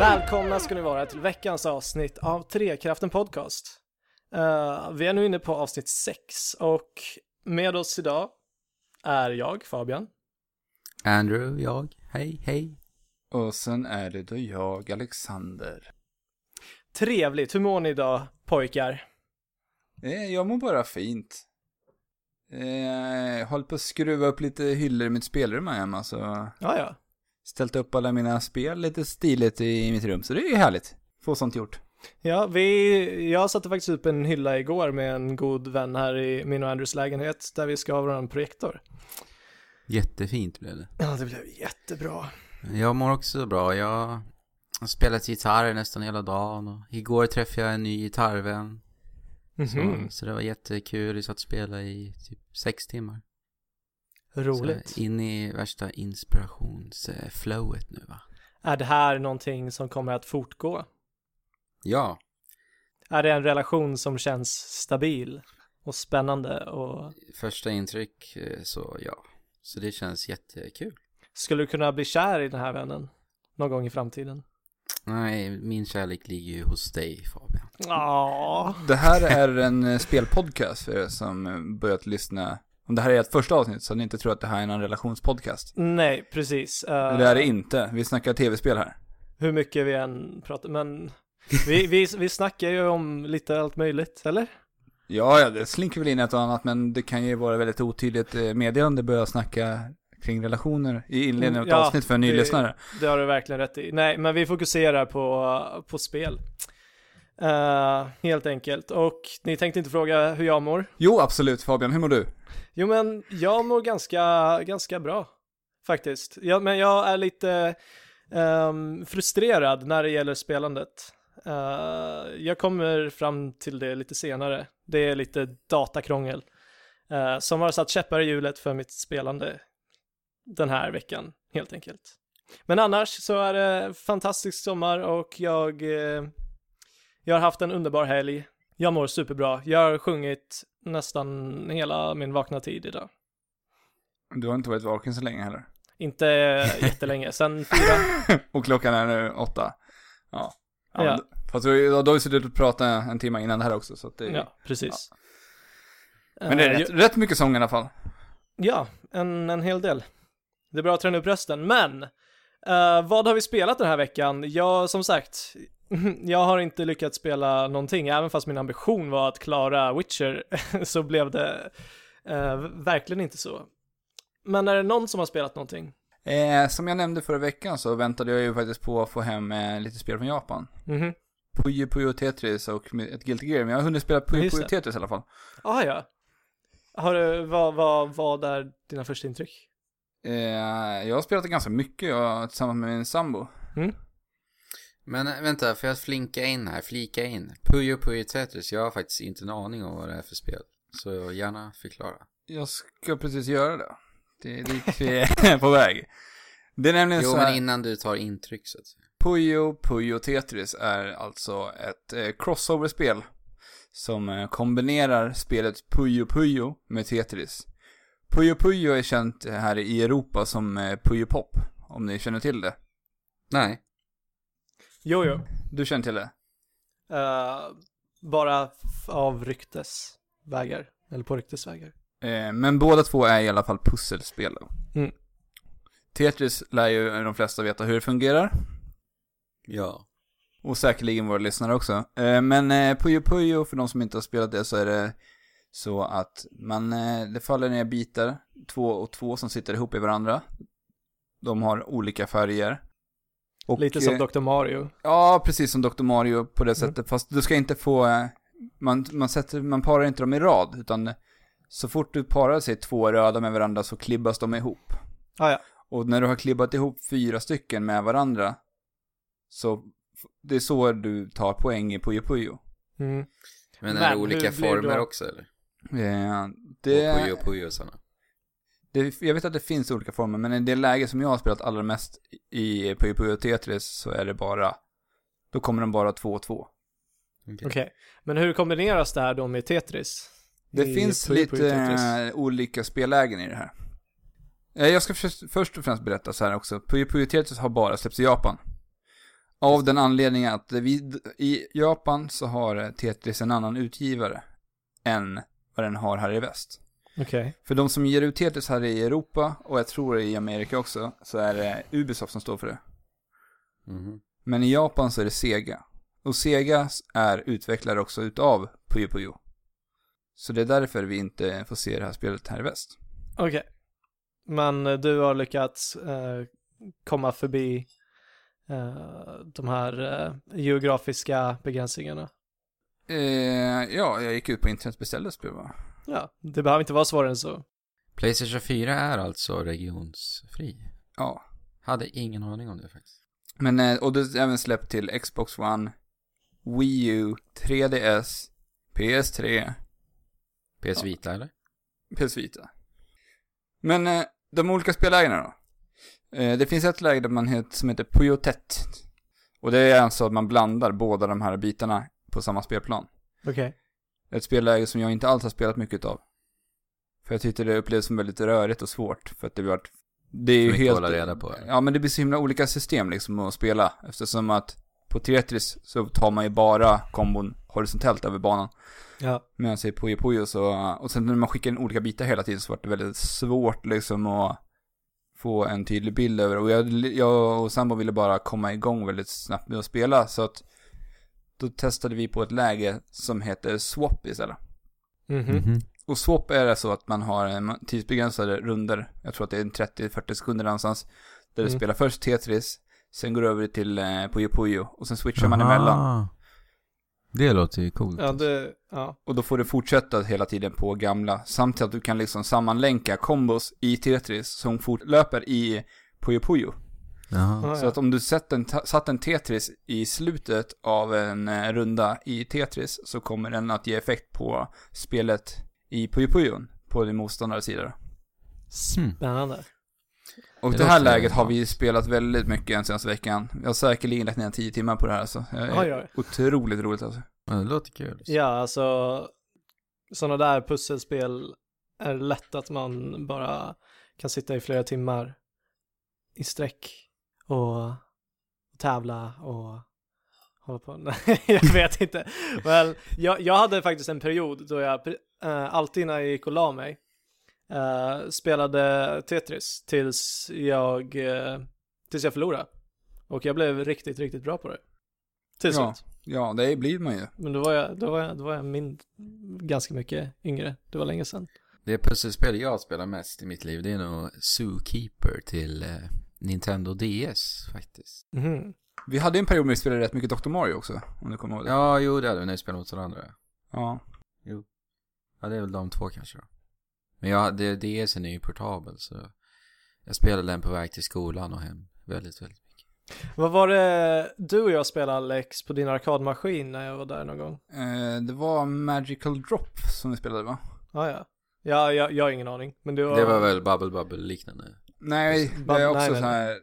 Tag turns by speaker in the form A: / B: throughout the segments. A: välkomna ska ni vara till veckans avsnitt av Trekraften Podcast. Eh, vi är nu inne på avsnitt 6 och med oss idag är jag, Fabian.
B: Andrew, jag. Hej, hej.
C: Och sen är det då jag, Alexander.
A: Trevligt, hur mår ni idag pojkar?
C: Eh, Jag mår bara fint. Eh, håll på att skruva upp lite hyllor i mitt spelrum här hemma, så
A: Ja, ja.
C: ställt upp alla mina spel lite stiligt i mitt rum, så det är ju härligt. Få sånt gjort.
A: Ja, vi, jag satte faktiskt upp en hylla igår med en god vän här i min och Andrews lägenhet där vi ska ha vår projektor.
B: Jättefint blev det.
A: Ja, det blev jättebra.
B: Jag mår också bra. Jag har spelat gitarr nästan hela dagen. Och igår träffade jag en ny gitarrvän. Så,
A: Mhm.
B: så det var jättekul. Vi satt och spelade i typ sex timmar.
A: Roligt.
B: Så in i värsta inspirationsflowet nu va?
A: Är det här någonting som kommer att fortgå?
B: Ja.
A: Är det en relation som känns stabil och spännande och
B: Första intryck, eh, så ja. Så det känns jättekul.
A: skulle du kunna bli kär i den här vännen någon gång i framtiden?
B: Nej, min kärlek ligger ju hos dig Fabian.
A: Ja,
C: Det här är en eh, spelpodcast för er som eh, börjat lyssna. Om det här är ert första avsnitt, så ni inte tror att det här är någon relationspodcast.
A: nej, precis. Eh,
C: Men Det här är inte. Vi snackar tv-spel här.
A: hur mycket vi än pratar, men vi, vi, vi snackar ju om lite allt möjligt, eller?
C: Ja, ja, det slinker väl in ett och annat, men det kan ju vara väldigt otydligt eh, meddelande börja snacka kring relationer i inledningen av
A: Mm,
C: ett
A: Ja,
C: avsnitt för en ny
A: det-
C: lyssnare.
A: Det har du verkligen rätt i. Nej, men vi fokuserar på, på spel. Eh, helt enkelt. Och ni tänkte inte fråga hur jag mår?
C: Jo, absolut. Fabian, hur mår du?
A: Jo, men jag mår ganska, ganska bra faktiskt. Ja, men jag är lite ehm, frustrerad när det gäller spelandet. Eh, jag kommer fram till det lite senare. Det är lite datakrångel eh, som har satt käppar i hjulet för mitt spelande den här veckan helt enkelt. Men annars så är det fantastisk sommar och jag, eh, jag har haft en underbar helg. Jag mår superbra. Jag har sjungit nästan hela min vakna tid idag.
C: Du har inte varit vaken så länge heller.
A: Inte jättelänge, sen fyra.
C: Och klockan är nu åtta. Ja.
A: Ja.
C: ja, men d- Fast du, har ju- du har ju suttit och pratat en timme innan det här också, så att det,
A: Ja, precis.
C: Men det är
A: Eh,
C: rätt, rätt mycket sång i alla fall.
A: Ja, en, en hel del. Det är bra att träna upp rösten, men eh, vad har vi spelat den här veckan? Ja, som sagt, jag har inte lyckats spela någonting, även fast min ambition var att klara Witcher så blev det eh, verkligen inte så. Men är det någon som har spelat någonting?
C: Eh, som jag nämnde förra veckan så väntade jag ju faktiskt på att få hem eh, lite spel från Japan.
A: Mhm.
C: Puyo Puyo Tetris och ett Guilty Gear, men jag har hunnit spela
A: Ja,
C: Puyo
A: just
C: Puyo
A: det.
C: Tetris i alla fall.
A: Ah, ja. Har du, vad, vad, vad är dina första intryck?
C: Eh, jag har spelat det ganska mycket jag, tillsammans med min sambo.
B: Men äh, vänta, får jag flinka in här? Flika in. Puyo Puyo Tetris, jag har faktiskt inte en aning om vad det är för spel. Så gärna förklara.
C: Jag ska precis göra det. Det är dit vi är på väg. Det är nämligen
B: Jo,
C: så här,
B: men innan du tar intryck så att säga.
C: Puyo Puyo Tetris är alltså ett eh, crossover-spel som eh, kombinerar spelet Puyo Puyo med Tetris. Puyo Puyo är känt eh, här i Europa som eh, Puyo Pop, om ni känner till det.
B: Nej.
A: Jo, jo.
C: Du känner till det?
A: Eh, bara f- av ryktesvägar, eller på ryktesvägar.
C: Eh, men båda två är i alla fall pusselspel. då.
A: Mm.
C: Tetris lär ju de flesta veta hur det fungerar.
B: Ja.
C: Och säkerligen våra lyssnare också. Eh, Men eh, Puyo Puyo, för de som inte har spelat det så är det så att man, eh, det faller ner bitar, två och två som sitter ihop i varandra. De har olika färger. Och,
A: Lite
C: eh,
A: som Mm. Dr. Mario.
C: Ja, precis som Dr. Mario på det sättet. Fast du ska inte få, eh, man, man, sätter, man parar inte dem i rad, utan så fort du parar sig två röda med varandra så klibbas de ihop.
A: Ah, ja.
C: Och när du har klibbat ihop fyra stycken med varandra, så f- det är så du tar poäng i Puyo Puyo.
A: Mm.
B: Men,
A: Men
B: är det
A: hur
B: olika
A: blir det
B: former
A: då?
B: också eller?
C: Eh,
B: Och
C: Det,
B: Puyo Puyo och sådana.
C: det, jag vet att det finns olika former, men i det läge som jag har spelat allra mest i Puyo Puyo Tetris så är det bara, då kommer de bara två och två.
A: Okej. Men hur kombineras det här då med Tetris?
C: Det
A: I
C: finns
A: Puyo Puyo
C: lite
A: Tetris.
C: eh, olika spellägen i det här. Eh, Jag ska först, först och främst berätta så här också. Puyo Puyo Tetris har bara släppts i Japan. Av den anledningen att vi, i Japan så har eh, Tetris en annan utgivare än vad den har här i väst.
A: Okej.
C: För de som ger ut Tetris här i Europa och jag tror i Amerika också så är det Ubisoft som står för det.
B: Mhm.
C: Men i Japan så är det Sega. Och Sega är utvecklare också utav Puyo Puyo. Så det är därför vi inte får se det här spelet här i väst.
A: Okej. Men eh, du har lyckats eh, komma förbi eh, de här eh, geografiska begränsningarna.
C: Eh, ja, jag gick ut på internet och beställde ett spel va?
A: Ja, det behöver inte vara svårare än så.
B: Playstation 4 är alltså regionsfri.
C: Ja.
B: Hade ingen aning om det faktiskt.
C: Men, eh, och det är även släppt till Xbox One, Wii U, 3DS, PS3,
B: PS Vita eller?
C: PS Vita. Men eh, de olika spellägena då? Eh, det finns ett läge där man heter, som heter Puyotet. Och det är alltså att man blandar båda de här bitarna på samma spelplan.
A: Okej.
C: Ett spelläge som jag inte alls har spelat mycket utav. För jag tyckte det upplevs som väldigt rörigt och svårt. För att det vart... Det är ju
B: mycket att
C: helt...
B: hålla reda på, eller?
C: Ja, men det blir så himla olika system liksom att spela. Eftersom att på Tetris så tar man ju bara kombon horisontellt över banan.
A: Ja.
C: Medan i Puyo Puyo så... Och sen när man skickar in olika bitar hela tiden så vart det väldigt svårt liksom att få en tydlig bild över. Och jag, jag och sambo ville bara komma igång väldigt snabbt med att spela. Så att då testade vi på ett läge som heter Swap istället.
A: Mhm.
C: Mm. Och swap är det så att man har en tidsbegränsade runder. Jag tror att det är en 30-40 sekunder någonstans. Där du
A: Mm.
C: spelar först Tetris, sen går du över till eh, Puyo Puyo och sen switchar man emellan.
B: Det låter ju coolt.
A: Ja, det, ja.
C: Och då får du fortsätta hela tiden på gamla. Samtidigt att du kan liksom sammanlänka kombos i Tetris som fortlöper i Puyo Puyo.
A: Ah,
C: Så
A: ja.
C: att om du satt en, satt en Tetris i slutet av en eh, runda i Tetris så kommer den att ge effekt på spelet i Puyo Puyon på din motståndares sida. då.
B: Mm.
A: Spännande.
C: Och
B: Det
C: det, här
B: låter
C: läget har
B: bra.
C: vi spelat väldigt mycket den senaste veckan. Jag har säkerligen lagt ner tio timmar på det här alltså. Jag är
A: Oj, oj.
C: Otroligt roligt alltså.
B: Ja, det låter kul.
A: Ja, alltså sådana där pusselspel är lätt att man bara kan sitta i flera timmar i sträck och tävla och hålla på. Nej, jag vet inte. Men jag, jag hade faktiskt en period då jag eh, alltid när jag gick och la mig eh, spelade Tetris tills jag, eh, tills jag förlorade. Och jag blev riktigt, riktigt bra på det. Till slut.
C: Ja. Ja, det blir man ju.
A: Men då var jag, då var jag, då var jag min, ganska mycket yngre. Det var länge sedan.
B: Det pusselspel jag spelar mest i mitt liv det är nog Zookeeper till eh, Nintendo DS faktiskt.
A: Mhm.
C: Vi hade en period när vi spelade rätt mycket Dr. Mario också, om du kommer ihåg det.
B: Ja, jo det hade vi när vi spelade mot varandra.
C: ja.
B: Ja, det är väl de två kanske då. Men jag hade, DSen är ju portabel så jag spelade den på väg till skolan och hem väldigt, väldigt mycket.
A: Vad var det du och jag spelade Alex på din arkadmaskin när jag var där någon gång?
C: Eh, det var Magical Drop som vi spelade va?
A: Ah, ja, ja. Jag, jag har ingen aning. Men det var...
B: Det var väl Bubble Bubble liknande?
C: Nej,
A: Just det.
C: det är
A: Ba- nej,
C: också
A: nej,
C: så här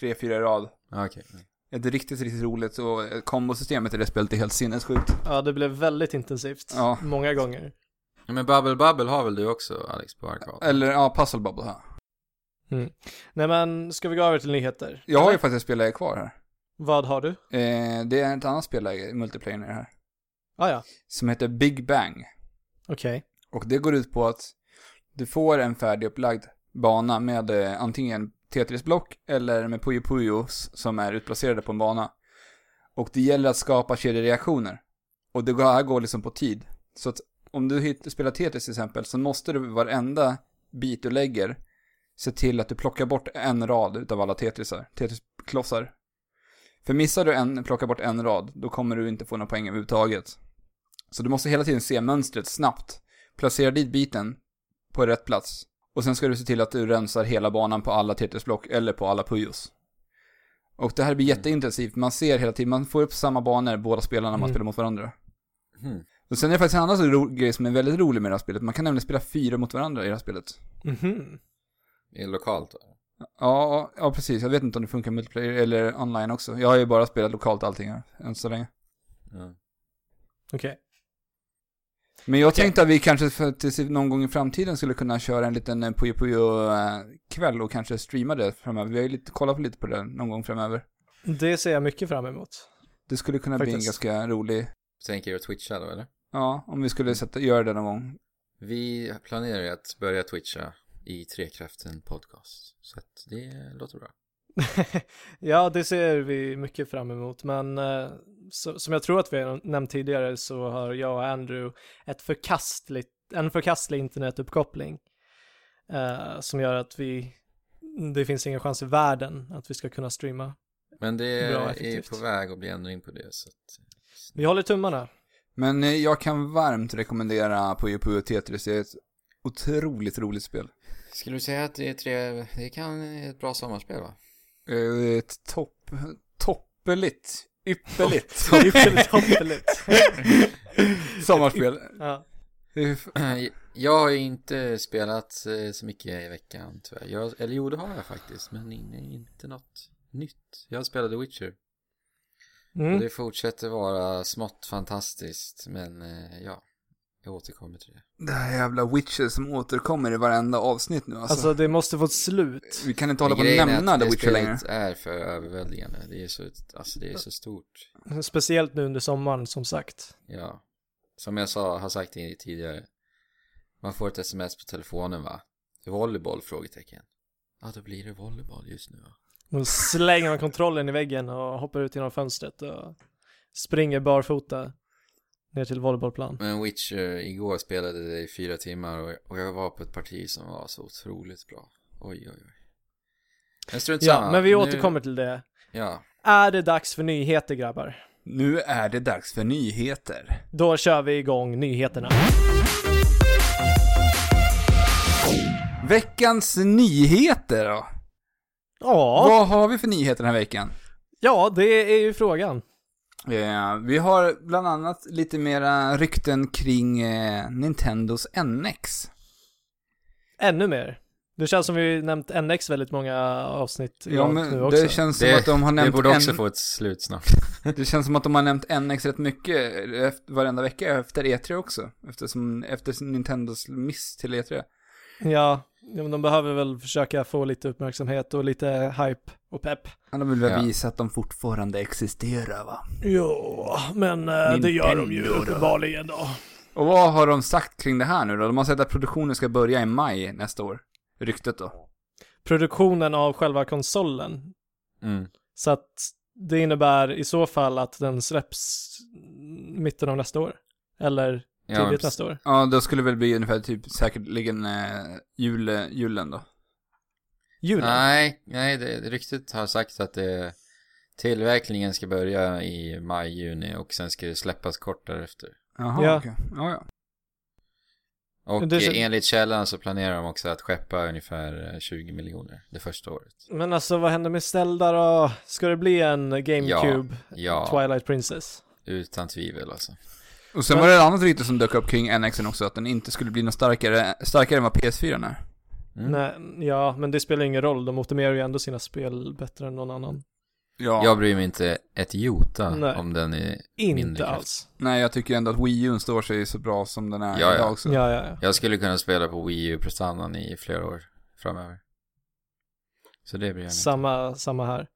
C: tre, fyra i rad.
B: Ja, okej. Mm.
C: Ett riktigt, riktigt roligt och eh, kombosystemet i det spelet är helt sinnessjukt.
A: Ja, det blev väldigt intensivt.
C: Ja.
A: Många gånger.
B: Ja, Men Bubble Bubble har väl du också Alex på arkad?
C: Eller ja, Puzzle Bubble här.
A: Nej men, ska vi gå över till nyheter?
C: Jag har ju
A: Eller?
C: faktiskt ett spelläge kvar här.
A: Vad har du?
C: Eh, det är ett annat spelläge, multiplayer i det här.
A: Ah, ja,
C: Som heter Big Bang.
A: okej.
C: Och det går ut på att du får en färdigupplagd bana med eh, antingen Tetrisblock eller med Puyo Puyos som är utplacerade på en bana. Och det gäller att skapa kedjereaktioner. Och det går- här går liksom på tid. Så att om du hit- spelar Tetris till exempel så måste du varenda bit du lägger se till att du plockar bort en rad utav alla Tetrisar, Tetrisklossar. För missar du en, plockar bort en rad, då kommer du inte få några poäng överhuvudtaget. Så du måste hela tiden se mönstret snabbt placera dit biten på rätt plats. Och sen ska du se till att du rensar hela banan på alla Tetrisblock eller på alla Puyos. Och det här blir jätteintensivt, man ser hela tiden, man får upp samma banor båda spelarna när man
A: Mm.
C: spelar mot varandra.
B: Mm.
C: Och sen är det faktiskt en annan så ro- grej som är väldigt rolig med det här spelet, man kan nämligen spela fyra mot varandra i det här spelet.
A: Mhm.
B: Det är lokalt va?
C: Ja, ja precis, jag vet inte om det funkar multiplayer eller online också. Jag har ju bara spelat lokalt allting här, än så länge.
B: Ja.
A: Okej.
C: Men jag
A: Okej.
C: tänkte att vi kanske för, tills någon gång i framtiden skulle kunna köra en liten eh, Puyo Puyo eh, kväll och kanske streama det framöver. Vi har ju lite, kollat på lite på det någon gång framöver.
A: Det ser jag mycket fram emot.
C: Det skulle kunna bli en
A: Faktiskt.
C: ganska rolig...
B: Tänker du twitcha då eller?
C: Ja, om vi skulle sätta, göra det någon gång.
B: Vi planerar ju att börja twitcha i Trekraften podcast. Så att det låter bra.
A: ja, det ser vi mycket fram emot, men eh, så, som jag tror att vi har nämnt tidigare så har jag och Andrew ett förkastligt, en förkastlig internetuppkoppling eh, som gör att vi, det finns ingen chans i världen att vi ska kunna streama.
B: Men det
A: Bra,
B: är
A: effektivt.
B: på väg att bli ändring på det. Så att...
A: Vi håller tummarna.
C: Men eh, jag kan varmt rekommendera Puyo Puyo Tetris. Det är ett otroligt roligt spel.
B: Skulle du säga att det är tre, det kan ett bra sommarspel va?
C: Eh, Ett topp... Toppeligt. Ypperligt.
A: Toppeligt, toppeligt.
C: Sommarspel.
A: ja.
C: Det är f-
B: Jag har ju inte spelat eh, så mycket i veckan tyvärr. Jag, eller jo, det har jag faktiskt, men in- inte något nytt. Jag spelade Witcher. Och
A: mm.
B: det fortsätter vara smått fantastiskt, men eh, ja, jag återkommer till det.
C: Det här jävla Witcher som återkommer i varenda avsnitt nu alltså.
A: Alltså det måste få ett slut.
C: Vi kan inte hålla på
B: Grejen
C: att
B: är
C: nämna The Witcher
B: spelet
C: längre.
B: är för överväldigande. Det är så, alltså det är så stort.
A: Speciellt nu under sommaren som sagt.
B: Ja. Som jag sa, har sagt det tidigare. Man får ett sms på telefonen va? Volleyboll? Frågetecken. Ja, då blir det volleyboll just nu va?
A: Då slänger man kontrollen i väggen och hoppar ut genom fönstret och springer barfota ner till volleybollplan.
B: Men Witcher, igår spelade det i fyra timmar och, och jag var på ett parti som var så otroligt bra. Oj, oj, oj. Men strunt samma.
A: Ja, men vi
B: Nu-
A: återkommer till det.
B: Ja,
A: Är det dags för nyheter grabbar?
C: Nu är det dags för nyheter.
A: Då kör vi igång nyheterna.
C: Veckans nyheter då?
A: Ja,
C: Vad har vi för nyheter den här veckan?
A: ja det är ju frågan.
C: Eh, vi har bland annat lite mera rykten kring eh, Nintendos NX.
A: Ännu mer. Det känns som vi nämnt NX väldigt många avsnitt i
C: Ja,
A: rad
C: men
A: nu också.
C: det känns som
B: det,
C: att de har
B: det
C: nämnt
B: borde också
C: en-
B: få ett slut snart.
C: Det känns som att de har nämnt NX rätt mycket efter, varenda vecka efter E3 också. Eftersom, efter Nintendos miss till E E3.
A: Ja, ja, men de behöver väl försöka få lite uppmärksamhet och lite hype och pepp.
C: Ja, de vill väl
B: Ja.
C: visa att de fortfarande existerar va?
A: Jo, men
C: eh, det gör de ju Nintendo då.
A: uppenbarligen då.
C: Och vad har de sagt kring det här nu då? De har sagt att produktionen ska börja i maj nästa år. Ryktet då.
A: Produktionen av själva konsolen.
B: Mm.
A: Så att det innebär i så fall att den släpps mitten av nästa år. Eller
B: Ja, men
A: tidigt
B: precis.
A: nästa år.
C: Ja, då skulle det väl bli ungefär typ säkerligen eh, jul, julen då.
A: Julen.
B: Nej, nej, det, det ryktet har sagt att det, tillverkningen ska börja i maj, juni och sen ska det släppas kort därefter.
C: Jaha,
A: Ja.
C: okej. Ja, ja.
B: Och
A: Det är så-
B: eh, enligt källan så planerar de också att skeppa ungefär eh, 20 miljoner det första året.
A: Men alltså vad händer med Zelda då? Ska det bli en GameCube
B: Ja,
A: Twilight Princess?
B: utan tvivel alltså.
C: Och sen var det ett annat rykte som dök upp kring NXen också, att den inte skulle bli något starkare, starkare än vad PS4 är.
B: Mm.
A: Nej, ja, men det spelar ingen roll. De optimerar ju ändå sina spel bättre än någon annan.
C: Ja.
B: Jag bryr mig inte ett jota
A: Nej.
B: om den är... Mindre
A: Inte
B: kraft.
A: alls.
C: Nej, jag tycker ändå att Wii U står sig så bra som den är
B: Ja, ja.
C: idag också.
A: Ja, ja, ja.
B: Jag skulle kunna spela på Wii U-prestandan i flera år framöver. Så det bryr jag mig inte.
A: Samma, samma här.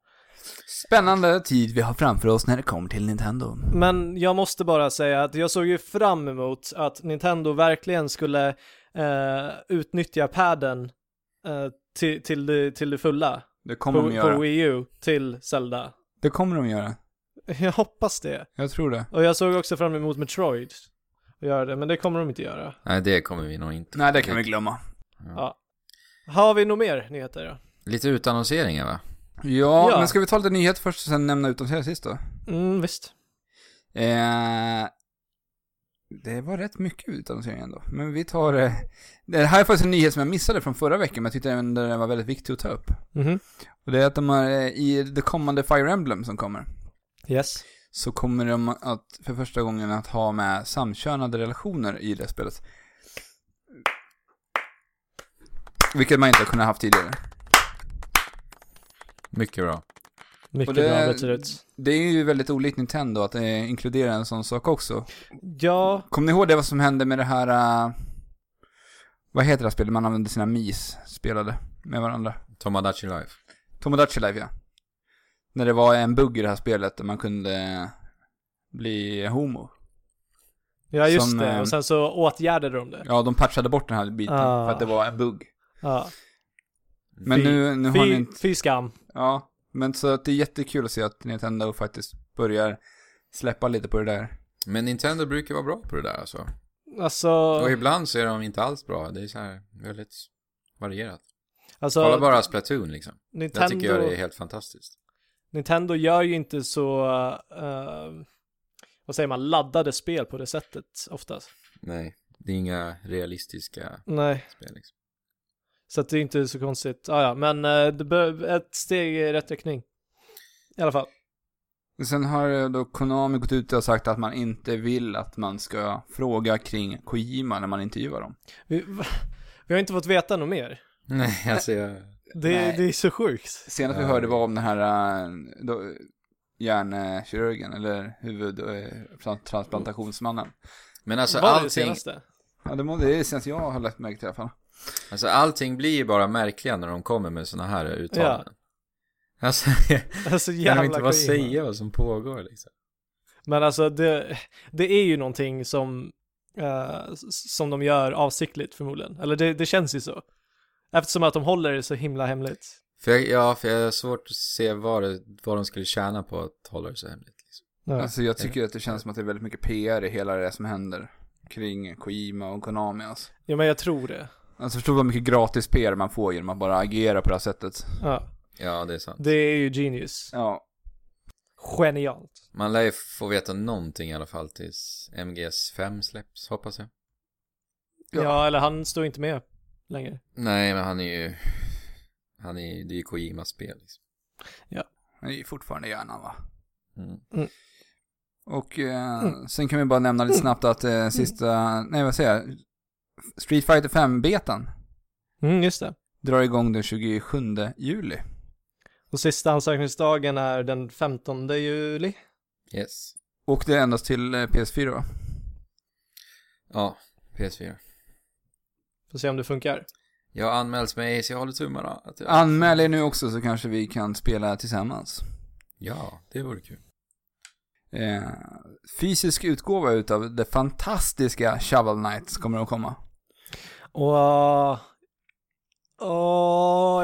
C: Spännande tid vi har framför oss när det kommer till Nintendo.
A: Men jag måste bara säga att jag såg ju fram emot att Nintendo verkligen skulle eh, utnyttja padden eh, till, till, det, till det fulla
C: Det kommer de
A: på, på
C: göra.
A: Wii U till Zelda.
C: Det kommer de göra.
A: Jag hoppas det.
C: Jag tror det.
A: Och jag såg också fram emot Metroid att göra det, men det kommer de inte göra.
B: Nej, det kommer vi nog inte.
C: Nej, det kan vi glömma.
A: Har vi något mer nyheter då?
B: Lite utannonseringar va?
C: Ja,
A: Ja.
C: men ska vi ta lite nyheter först och sen nämna utom sig sist då?
A: Mm, visst.
C: Eh, det var rätt mycket utannonsering ändå. Men vi tar... Eh, det här är faktiskt en nyhet som jag missade från förra veckan, men jag tyckte även den var väldigt viktig att ta upp.
A: Mhm.
C: Och det är att de har, eh, i det kommande Fire Emblem som kommer,
A: Yes.
C: så kommer de att för första gången att ha med samkönade relationer i det spelet. Vilket man inte har kunnat haft tidigare.
B: Mycket bra.
A: Mycket
C: det-
A: bra betyder ut.
C: Det är ju väldigt olikt Nintendo att eh, inkludera en sån sak också.
A: Ja,
C: Kommer ni ihåg det vad som hände med det här... eh, vad heter det här spelet man använde sina mis spelade med varandra?
B: Tomodachi Life.
C: Tomodachi Life ja. När det var en bugg i det här spelet där man kunde bli homo.
A: Ja, just
C: Som,
A: det.
C: ehm,
A: Och sen så åtgärdade de det.
C: Ja, de patchade bort den här biten
A: Ah.
C: för att det var en bugg.
A: Ja.
C: Men
A: Fy-
C: nu, nu har ni
A: Fy,
C: inte...
A: fy skam.
C: Ja, men så att det är jättekul att se att Nintendo faktiskt börjar släppa lite på det där.
B: Men Nintendo brukar vara bra på det där alltså.
A: Alltså,
B: Och ibland så är de inte alls bra. Det är så här väldigt varierat. Kolla
A: alltså
B: bara Splatoon liksom. Det
A: Nintendo,
B: tycker jag är helt fantastiskt.
A: Nintendo gör ju inte så, eh, vad säger man, laddade spel på det sättet oftast.
B: Nej, det är inga realistiska
A: Nej.
B: spel liksom.
A: Så att det är inte så konstigt. Ah, ja, men eh, det bör, ett steg i rätt riktning. I alla fall.
C: Sen har eh, då Konami gått ut och sagt att man inte vill att man ska fråga kring Kojima när man intervjuar dem.
A: Vi, vi har inte fått veta något mer.
B: Nej, alltså jag...
A: Det,
C: Nej.
A: det är så sjukt.
C: Senast vi
B: Ja.
C: hörde var om den här eh, då, hjärnkirurgen eller eh, huvudtransplantationsmannen.
B: Men alltså
A: Var det det
B: allting,
A: senaste?
C: Ja, det må- det är senast jag har lagt märke till i alla fall.
B: alltså allting blir ju bara märkliga när de kommer med sådana här uttalanden. Alltså,
A: Alltså
B: kan
A: jävla
B: de inte bara
A: Kojima.
B: säga vad som pågår liksom?
A: Men alltså det, det är ju någonting som, eh, s- som de gör avsiktligt förmodligen. Eller det, det känns ju så. Eftersom att de håller det så himla hemligt.
B: För jag, ja, för jag har svårt att se vad, det, vad de skulle tjäna på att hålla det så hemligt. Liksom.
A: Ja.
C: Alltså jag tycker att det känns som att det är väldigt mycket PR i hela det som händer kring Kojima och Konami alltså.
A: ja men jag tror det.
C: Alltså förstå vad mycket gratis PR man får genom att bara agera på det här sättet.
A: Ja.
B: Ja, det är sant.
A: Det är ju genius.
C: Ja.
A: Genialt.
B: Man lär ju få veta någonting i alla fall tills MGS 5 släpps, hoppas jag.
A: Ja.
C: Ja.
A: eller han står inte med längre.
B: Nej, men han är ju... Han är ju... Det är ju Kojimas spel liksom.
C: Men det är ju fortfarande hjärnan va?
B: Mm.
C: Och eh,
A: Mm.
C: sen kan vi bara nämna lite snabbt att eh, sista, nej vad säger jag? Street Fighter 5-betan
A: Mm, just det.
C: drar igång den 27 juli.
A: Och sista ansökningsdagen är den 15 juli.
B: Yes.
C: Och det är endast till eh, PS4 va?
B: Ja, PS4.
A: Får se om det funkar.
B: Jag har anmälts mig, så jag håller tummarna att jag...
C: Anmäl er nu också så kanske vi kan spela tillsammans.
B: Ja, det vore kul.
C: Eh, fysisk utgåva utav det fantastiska Shovel Knight kommer att komma.
A: Och... Åh,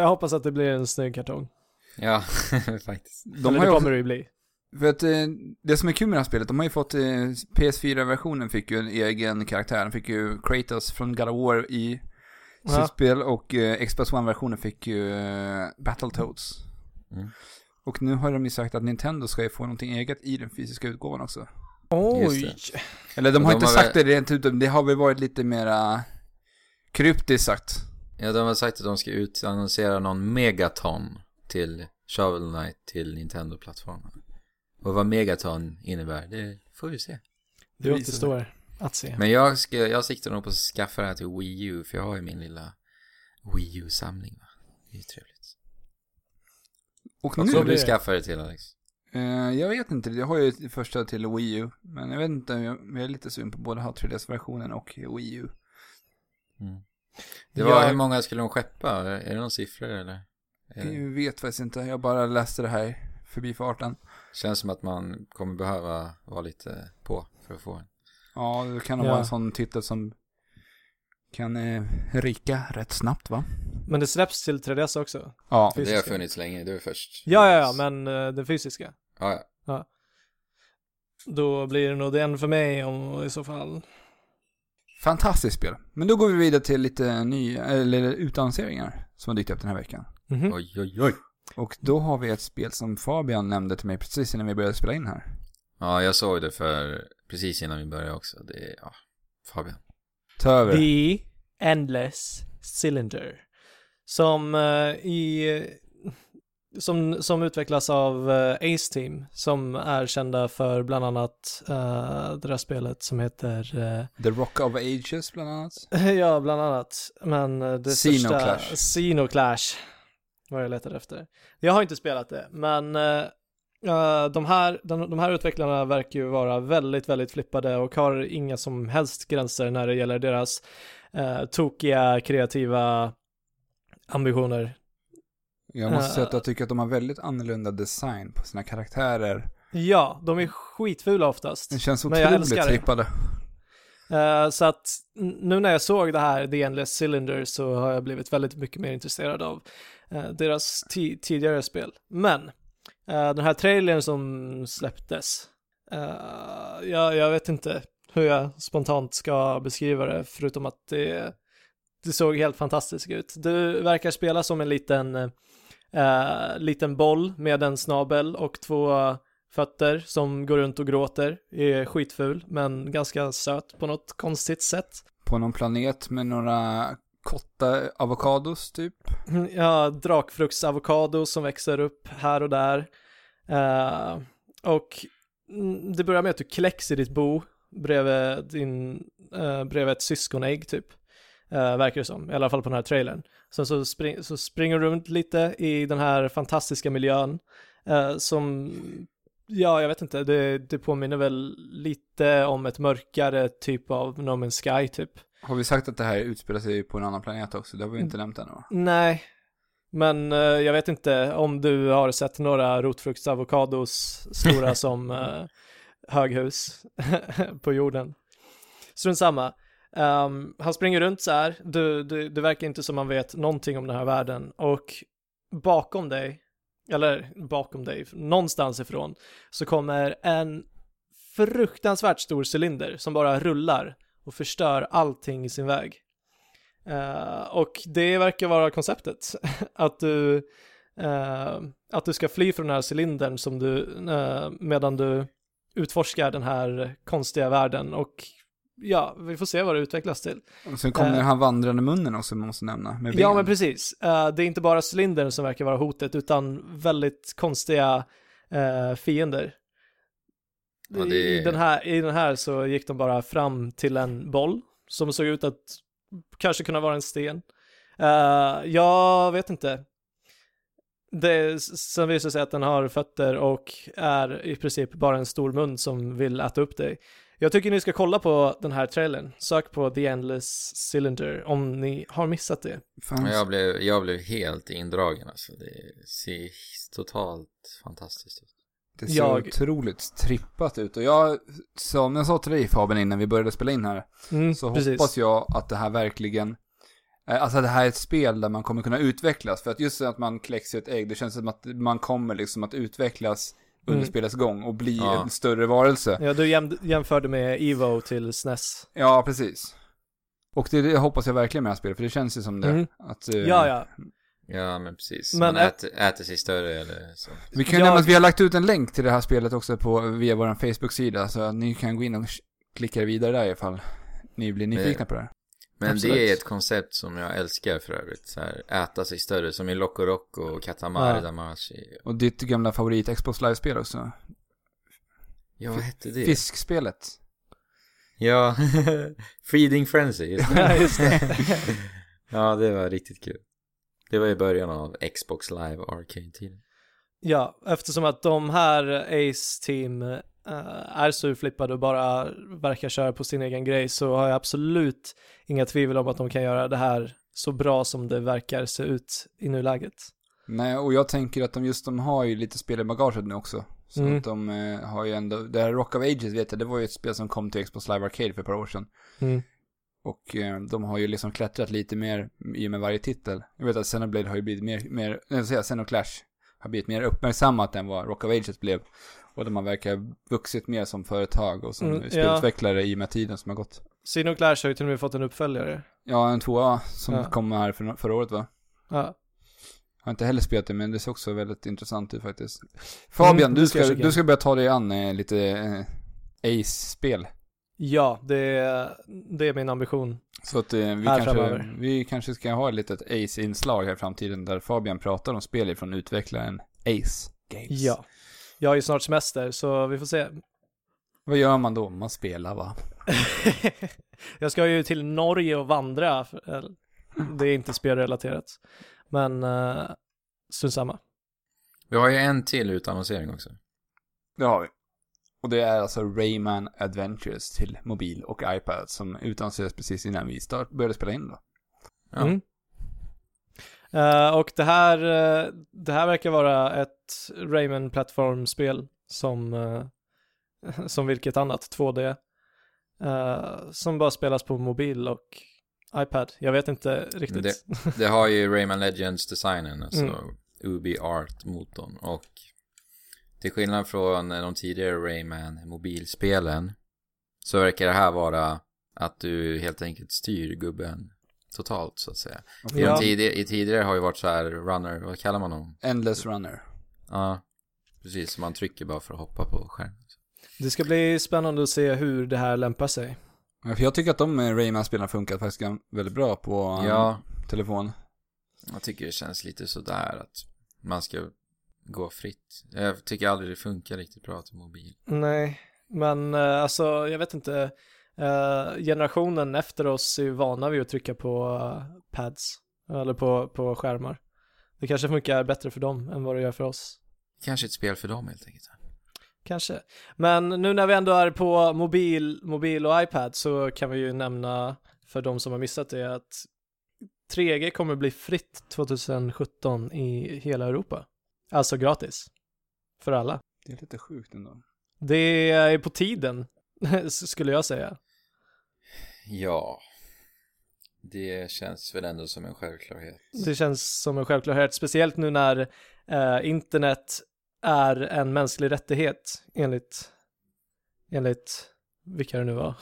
A: jag hoppas att det blir en snygg kartong.
B: Ja, faktiskt.
C: De
A: eller
C: har
A: det
C: ju
A: kommer
C: också,
A: det ju bli.
C: för att, eh, det som är kul med det här spelet, de har ju fått, eh, PS4-versionen fick ju en egen karaktär. Den fick ju Kratos från God of War i sitt
A: Ja.
C: spel och eh, Xbox One-versionen fick ju eh, Battletoads.
B: Mm.
C: Och nu har de ju sagt att Nintendo ska ju få någonting eget i den fysiska utgåvan också.
A: Oj!
B: Just
C: Eller de har
B: De
C: inte
B: har
C: sagt det rent ut, men det har väl varit lite mera kryptiskt sagt.
B: Ja, de har sagt att de ska utannonsera någon megaton till Shovel Knight till Nintendo-plattformen. Och vad megaton innebär, det får vi se.
A: Det
C: visar
A: återstår att se.
B: Men jag, ska, jag siktar nog på att skaffa det här till Wii U, för jag har ju min lilla Wii U-samling va. Det är ju trevligt.
C: Och
B: Vad
C: nu
B: ska
A: blir
B: du
A: det.
B: skaffa det till Alex?
C: Eh, jag vet inte, jag har ju det första till Wii U. Men jag vet inte, jag jag är lite sugen på både att ha 3DS-versionen och Wii U.
B: Det var,
A: Jag-
B: hur många skulle de skeppa? Är det någon siffror eller? Eh, Är det,
C: Jag vet faktiskt inte, jag bara läste det här förbi farten.
B: känns som att man kommer behöva vara lite på för att få en.
C: Ja, det kan nog
A: Ja.
C: vara en sån titel som kan eh, ryka rätt snabbt va?
A: Men det släpps till 3DS också.
C: Ja,
A: Fysiska.
B: Det har funnits länge, det var först.
A: Ja, ja, ja, men eh, den fysiska.
B: Ja, ja.
A: Då blir det nog den för mig om i så fall.
C: fantastiskt spel. Men då går vi vidare till lite nya, eller utannonseringar som har dykt upp den här veckan.
A: Mhm.
B: Oj, oj, oj.
C: Och då har vi ett spel som Fabian nämnde till mig precis innan vi började spela in här.
B: Ja, jag såg det för precis innan vi började också. Det är, ja, Fabian.
C: Ta över.
A: The Endless Cylinder. Som eh, i... Som, som utvecklas av eh, Ace Team, som är kända för bland annat eh, det där spelet som heter... eh,
C: The Rock of Ages bland annat.
A: Ja, bland annat. Men eh, det
C: Xenoclash.
A: största... Xenoclash. Vad jag letar efter. Jag har inte spelat det, men eh, eh, de, här, de, de här utvecklarna verkar ju vara väldigt, väldigt flippade och har inga som helst gränser när det gäller deras eh, tokiga kreativa ambitioner.
C: Jag måste
A: Eh.
C: säga att jag tycker att de har väldigt annorlunda design på sina karaktärer.
A: Ja, de är skitfula oftast.
C: Det känns
A: Men jag
C: otroligt
A: älskar det.
C: trippade.
A: Eh, så att n- nu när jag såg det här The Endless Cylinder så har jag blivit väldigt mycket mer intresserad av eh, deras ti- tidigare spel. Men eh, den här trailern som släpptes, eh, jag, jag vet inte hur jag spontant ska beskriva det förutom att det, det såg helt fantastiskt ut. Du verkar spela som en liten, eh, liten boll med en snabel och två fötter som går runt och gråter, är skitful men ganska söt på något konstigt sätt.
C: På någon planet med några korta avokados typ.
A: Ja, drakfruktsavokado som växer upp här och där. Eh, och mm, det börjar med att du kläcks i ditt bo bredvid, din, eh, bredvid ett syskonägg typ. Eh, verkar det som, i alla fall på den här trailern. Sen så, spring, så springer du runt lite i den här fantastiska miljön eh, som, ja jag vet inte, det, det påminner väl lite om ett mörkare typ av No Man's Sky typ.
C: Har vi sagt att det här utspelar sig på en annan planet också? Det har vi inte
A: Mm.
C: nämnt ännu va?
A: Nej, men eh, jag vet inte om du har sett några rotfruktavokados stora som eh, höghus på jorden. Strunt samma. Ehm, han springer runt så här, du, du, det verkar inte som han vet någonting om den här världen och bakom dig, eller bakom dig, någonstans ifrån, så kommer en fruktansvärt stor cylinder som bara rullar och förstör allting i sin väg. Eh, och det verkar vara konceptet. att, du, eh, att du ska fly från den här cylindern som du, eh, medan du utforskar den här konstiga världen. Och ja, vi får se vad det utvecklas till.
C: Och sen kommer
A: Eh.
C: den här vandrande munnen också man måste nämna. Med
A: Ja,
C: ben.
A: men precis. Eh, det är inte bara cylindern som verkar vara hotet, utan väldigt konstiga eh, fiender.
B: Ja, det
A: I,
B: är-
A: den här, I den här så gick de bara fram till en boll som såg ut att kanske kunna vara en sten. Eh, jag vet inte. Det, sen visar det sig att den har fötter och är i princip bara en stor mun som vill äta upp dig. Jag tycker ni ska kolla på den här trailern. Sök på The Endless Cylinder om ni har missat det.
C: Fan,
B: Men jag blev, jag blev helt indragen alltså. Det ser totalt fantastiskt ut.
C: Det ser
A: jag-
C: otroligt trippat ut. Och jag, som jag sa till dig Fabian innan vi började spela in här,
A: Mm,
C: så
A: precis.
C: hoppas jag att det här verkligen, eh, alltså att det här är ett spel där man kommer kunna utvecklas. För att just så att man kläcks i ett ägg, det känns som att man kommer liksom att utvecklas under
A: Mm.
C: spelets gång och bli
B: Ja.
C: en större varelse.
A: Ja, du jäm, jämförde med Evo till E SNES.
C: Ja, precis. Och det, det hoppas jag verkligen med det här spelet, för det känns ju som det.
A: Mm.
C: Att, eh,
A: Ja, ja.
B: Ja, men precis.
A: Men
B: Man
A: ä-
B: äter, äter sig större eller så.
C: Vi kan ju
A: Jag-
C: nämna att vi har lagt ut en länk till det här spelet också på, via vår Facebook-sida, så att ni kan gå in och sh- klicka vidare där ifall ni blir nyfikna på det här.
B: Men
A: Absolut.
B: det är ett koncept som jag älskar för övrigt. Så här, äta sig större, som i Loco Roco och Katamari
A: Ja.
B: Damacy.
C: Och ditt gamla favorit Xbox Live-spel också.
B: Ja, vad hette det?
C: Fiskspelet.
B: Ja, Feeding Frenzy. just det.
A: ja, just det.
B: ja, det var riktigt kul. Det var i början av Xbox Live Arcade-tiden.
A: Ja, eftersom att de här Ace Team eh, är surflippade och bara verkar köra på sin egen grej så har jag absolut inga tvivel om att de kan göra det här så bra som det verkar se ut i nuläget.
C: Nej, och jag tänker att de just de har ju lite spel i bagaget nu också. Så
A: Mm.
C: att de eh, har ju ändå, det här Rock of Ages vet jag, det var ju ett spel som kom till Xbox Live Arcade för ett par år sedan.
A: Mm.
C: Och eh, de har ju liksom klättrat lite mer i och med varje titel. Jag vet att Xenoblade har ju blivit mer, mer nej, vad säger jag, Xenoclash har blivit mer uppmärksammat än vad Rock of Ages blev. Och de har verkar vuxit mer som företag och som
A: Mm, ja.
C: spelutvecklare i och med tiden som har gått.
A: Sino Clash har ju till och med fått en uppföljare.
C: Ja, en tvåa som
A: Ja.
C: kom här för, förra året va?
A: Ja,
C: Jag har inte heller spelat det, men det ser också väldigt intressant ut faktiskt. Fabian,
A: Mm,
C: du,
A: det ska
C: ska,
A: jag kika in.
C: du ska börja ta dig an eh, lite eh, Ace-spel.
A: ja det, är, det är min ambition.
C: Så att eh, vi,
A: Här
C: kanske,
A: framöver.
C: vi kanske ska ha ett litet Ace-inslag här i framtiden där Fabian pratar om spel från utvecklaren Ace Games.
A: Ja. Jag har ju snart semester så vi får se.
C: Vad gör man då? Man spelar va?
A: jag ska ju till Norge och vandra. för- eller, Det är inte spelrelaterat. Men uh, strunt samma.
B: Vi har ju en till utannonsering också.
C: Det har vi. Och det är alltså Rayman Adventures till mobil och iPad som utannonserades precis innan vi start, började spela in då.
B: Ja.
A: Mm. Eh, och det här, eh, det här verkar vara ett Rayman-plattformspel som, eh, som vilket annat, 2D. eh, som bara spelas på mobil och iPad. Jag vet inte riktigt.
B: Det har ju Rayman Legends-designen, alltså
A: Mm.
B: UB Art-motorn. Och till skillnad från de tidigare Rayman-mobilspelen så verkar det här vara att du helt enkelt styr gubben totalt så att säga. I,
A: Ja.
B: de tidigare, I tidigare har ju varit så här runner, vad kallar man dem?
C: Endless runner.
B: Ja, precis. Som man trycker bara för att hoppa på skärmen.
A: Det ska bli spännande att se hur det här lämpar sig.
C: Ja, För jag tycker att de eh, Rayman-spelarna funkar faktiskt gan- väldigt bra på eh,
B: Ja,
C: telefon.
B: jag tycker det känns lite sådär att man ska gå fritt. Jag tycker aldrig det funkar riktigt bra till mobil.
A: Nej, men eh, alltså jag vet inte. Eh, generationen efter oss är ju vana vid att trycka på eh, pads eller på, på skärmar. Det kanske funkar bättre för dem än vad det gör för oss.
B: Kanske ett spel för dem helt enkelt.
A: Kanske. Men nu när vi ändå är på mobil, mobil och iPad så kan vi ju nämna för de som har missat det att 3G kommer bli fritt 2017 i hela Europa. Alltså gratis. För alla.
C: Det är lite sjukt ändå.
A: Det är på tiden, skulle jag säga.
B: Ja. Det känns väl ändå som en självklarhet.
A: Det känns som en självklarhet, speciellt nu när eh, internet är en mänsklig rättighet enligt, enligt vilka det nu var.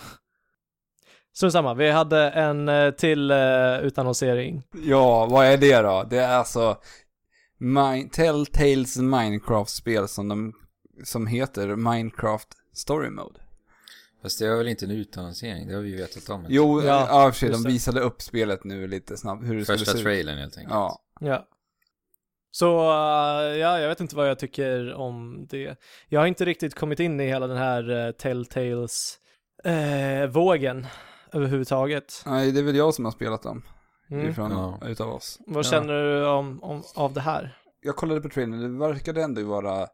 A: Så samma, vi hade en eh, till eh, utannonsering.
C: Ja, vad är det då? Det är alltså Min- Telltales Minecraft-spel som, de, som heter Minecraft Story Mode.
B: Fast det var väl inte en utannonsering, det har vi ju vetat om.
C: Jo,
A: Ja,
C: ja, ja i och för sig, de
A: just det.
C: visade upp spelet nu lite snabbt, hur det
B: Första
C: skulle se ut.
B: trailern helt enkelt.
C: Ja,
A: Ja. Så eh, ja, jag vet inte vad jag tycker om det. Jag har inte riktigt kommit in i hela den här eh, Telltales-vågen överhuvudtaget.
C: nej det är väl jag som har spelat dem,
A: Mm.
C: ifrån,
B: Ja.
C: utav oss.
A: Vad
C: Ja.
A: känner du om, om, av det här?
C: Jag kollade på trailern, det verkade ändå vara,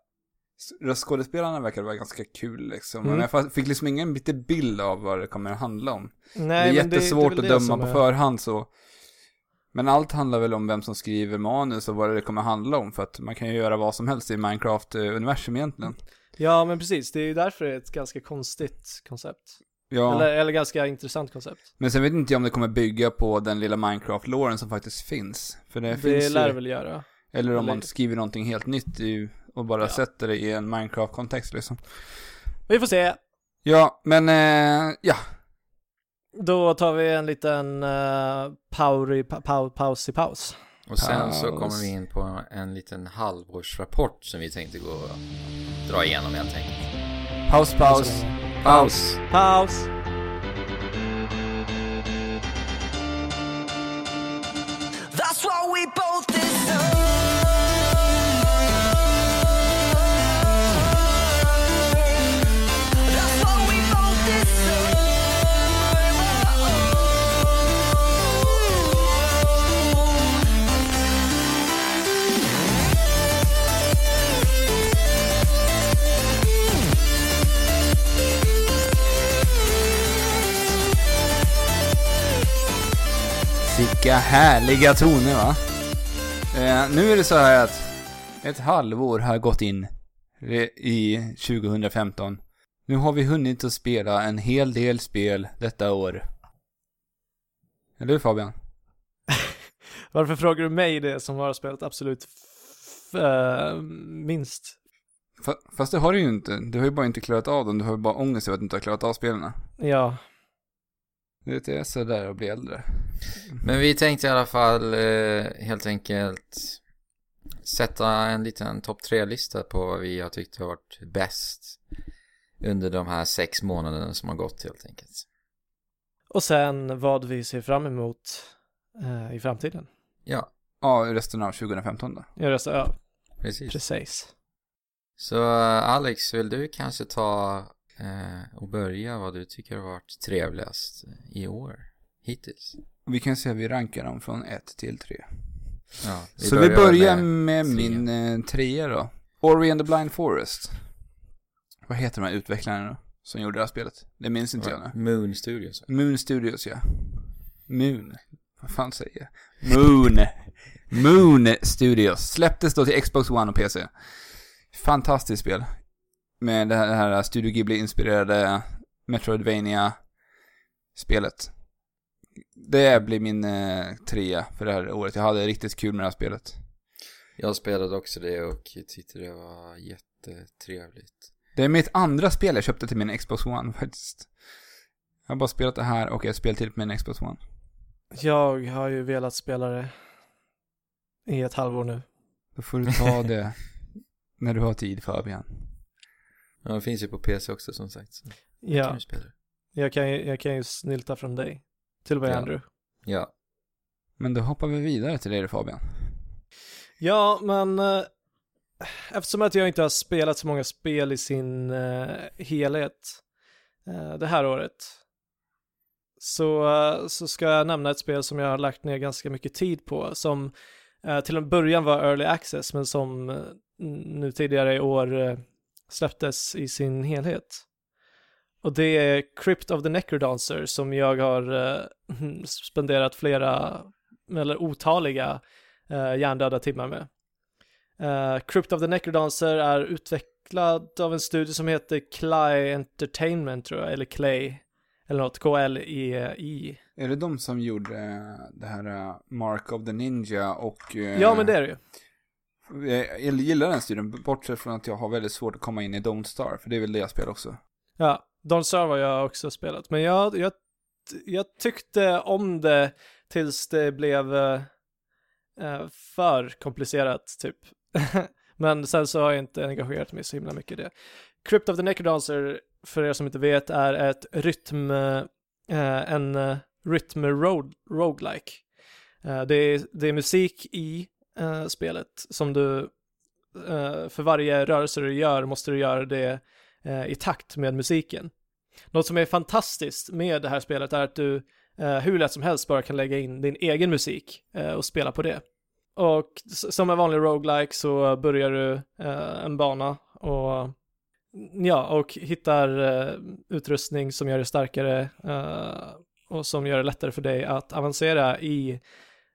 C: röstskådespelarna verkade vara ganska kul liksom.
A: Mm.
C: Men jag fa- fick liksom ingen lite bild av vad det kommer att handla om.
A: Nej,
C: det är
A: men
C: jättesvårt
A: det är väl det
C: att döma
A: som
C: på
A: är-
C: förhand så. Men allt handlar väl om vem som skriver manus och vad det kommer handla om. För att man kan ju göra vad som helst i Minecraft-universum egentligen.
A: Ja, men precis. Det är ju därför det är ett ganska konstigt koncept.
C: Ja,
A: Eller, eller ganska intressant koncept.
C: men sen vet inte jag om det kommer bygga på den lilla Minecraft-låren som faktiskt finns. För det,
A: Det,
C: finns
A: lär
C: ju,
A: väl göra.
C: Eller om man
A: eller-
C: skriver någonting helt nytt i, och bara
A: Ja.
C: sätter det i en Minecraft-kontext liksom.
A: Vi får se.
C: Ja, men eh, ja.
A: Då tar vi en liten uh, pauri, pa, pau, paus i paus.
B: Och sen så
C: Paus.
B: kommer vi in på en liten halvårsrapport som vi tänkte gå och dra igenom helt enkelt.
C: Paus, paus.
B: Paus!
A: Paus!
D: That's what we both deserve. That's what we both deserve.
C: Vilka härliga toner va? Eh, nu är det så här att ett halvår har gått in re- i 2015. Nu har vi hunnit att spela en hel del spel detta år. Eller hur Fabian?
A: Varför frågar du mig det som har spelat absolut f- eh, minst?
C: Fa- Fast det har du ju inte. Du har ju bara inte klarat av dem. Du har ju bara ångest över att du inte har klarat av spelen.
A: Ja,
C: Du vet, det är sådär att bli äldre.
B: Men vi tänkte i alla fall eh, helt enkelt sätta en liten topp tre-lista på vad vi har tyckt har varit bäst under de här sex månaderna som har gått helt enkelt.
A: och sen vad vi ser fram emot eh, i framtiden.
B: Ja,
C: Ja, resten av 2015 då.
A: Jag röstar, ja,
B: precis.
A: precis.
B: Så eh, Alex, vill du kanske ta eh, och börja vad du tycker har varit trevligast i år hittills?
C: Vi kan se hur vi rankar dem från 1 till 3.
B: Ja,
C: Så vi börjar
B: med-
C: med,
B: tre.
C: min eh, trea då. Ori and the Blind Forest. Vad heter de här utvecklarna då? Som gjorde det här spelet? Det minns inte jag nu.
B: Moon Studios.
C: Moon Studios ja. Moon. Vad fan säger jag? Moon. Moon Studios. Släpptes då till Xbox One och PC. Fantastiskt spel. Med det här, det här Studio Ghibli-inspirerade metroidvania spelet Det blir min eh, trea för det här året. Jag hade riktigt kul med det här spelet.
B: Jag spelade också det och tyckte det var jättetrevligt.
C: Det är mitt andra spel jag köpte till min Xbox One faktiskt. Jag har bara spelat det här och ett spel till på min Xbox One.
A: Jag har ju velat spela det i ett halvår nu.
C: Då får du ta det när du har tid Fabian.
B: Ja, det finns ju på PC också som sagt. Så kan
A: Ja,
B: du spela det.
A: jag kan, ju- jag kan ju snylta från dig. Till och med
B: Ja.
A: Andrew.
B: Ja.
C: Men då hoppar vi vidare till dig då, Fabian.
A: Ja, men eh, eftersom att jag inte har spelat så många spel i sin eh, helhet eh, det här året så, eh, så ska jag nämna ett spel som jag har lagt ner ganska mycket tid på som eh, till en början var early access men som eh, nu tidigare i år eh, släpptes i sin helhet. Och det är Crypt of the Necrodancer som jag har eh, spenderat flera, eller otaliga eh, hjärndöda timmar med. Eh, Crypt of the Necrodancer är utvecklad av en studio som heter Clay Entertainment tror jag, eller Clay, eller något, E K-L-E-I.
C: Är det de som gjorde eh, det här eh, Mark of the Ninja och... eh,
A: Ja, men det är det ju.
C: Jag jag gillar den studion, bortsett från att jag har väldigt svårt att komma in i Don't Star, för det är väl det jag spelar också.
A: Ja, Don't Starve har jag också spelat, men jag, jag, jag tyckte om det tills det blev eh, eh, för komplicerat, typ. men sen så har jag inte engagerat mig så himla mycket i det. Crypt of the Necrodancer, för er som inte vet, är ett rytm, eh, en eh, rytm road, roguelike. Eh, det, är, det är musik i eh, spelet som du, eh, för varje rörelse du gör måste du göra det eh, i takt med musiken. Något som är fantastiskt med det här spelet är att du eh, hur lätt som helst bara kan lägga in din egen musik eh, och spela på det. Och s- som en vanlig roguelike så börjar du eh, en bana och mm, ja, och hittar eh, utrustning som gör dig starkare eh, och som gör det lättare för dig att avancera i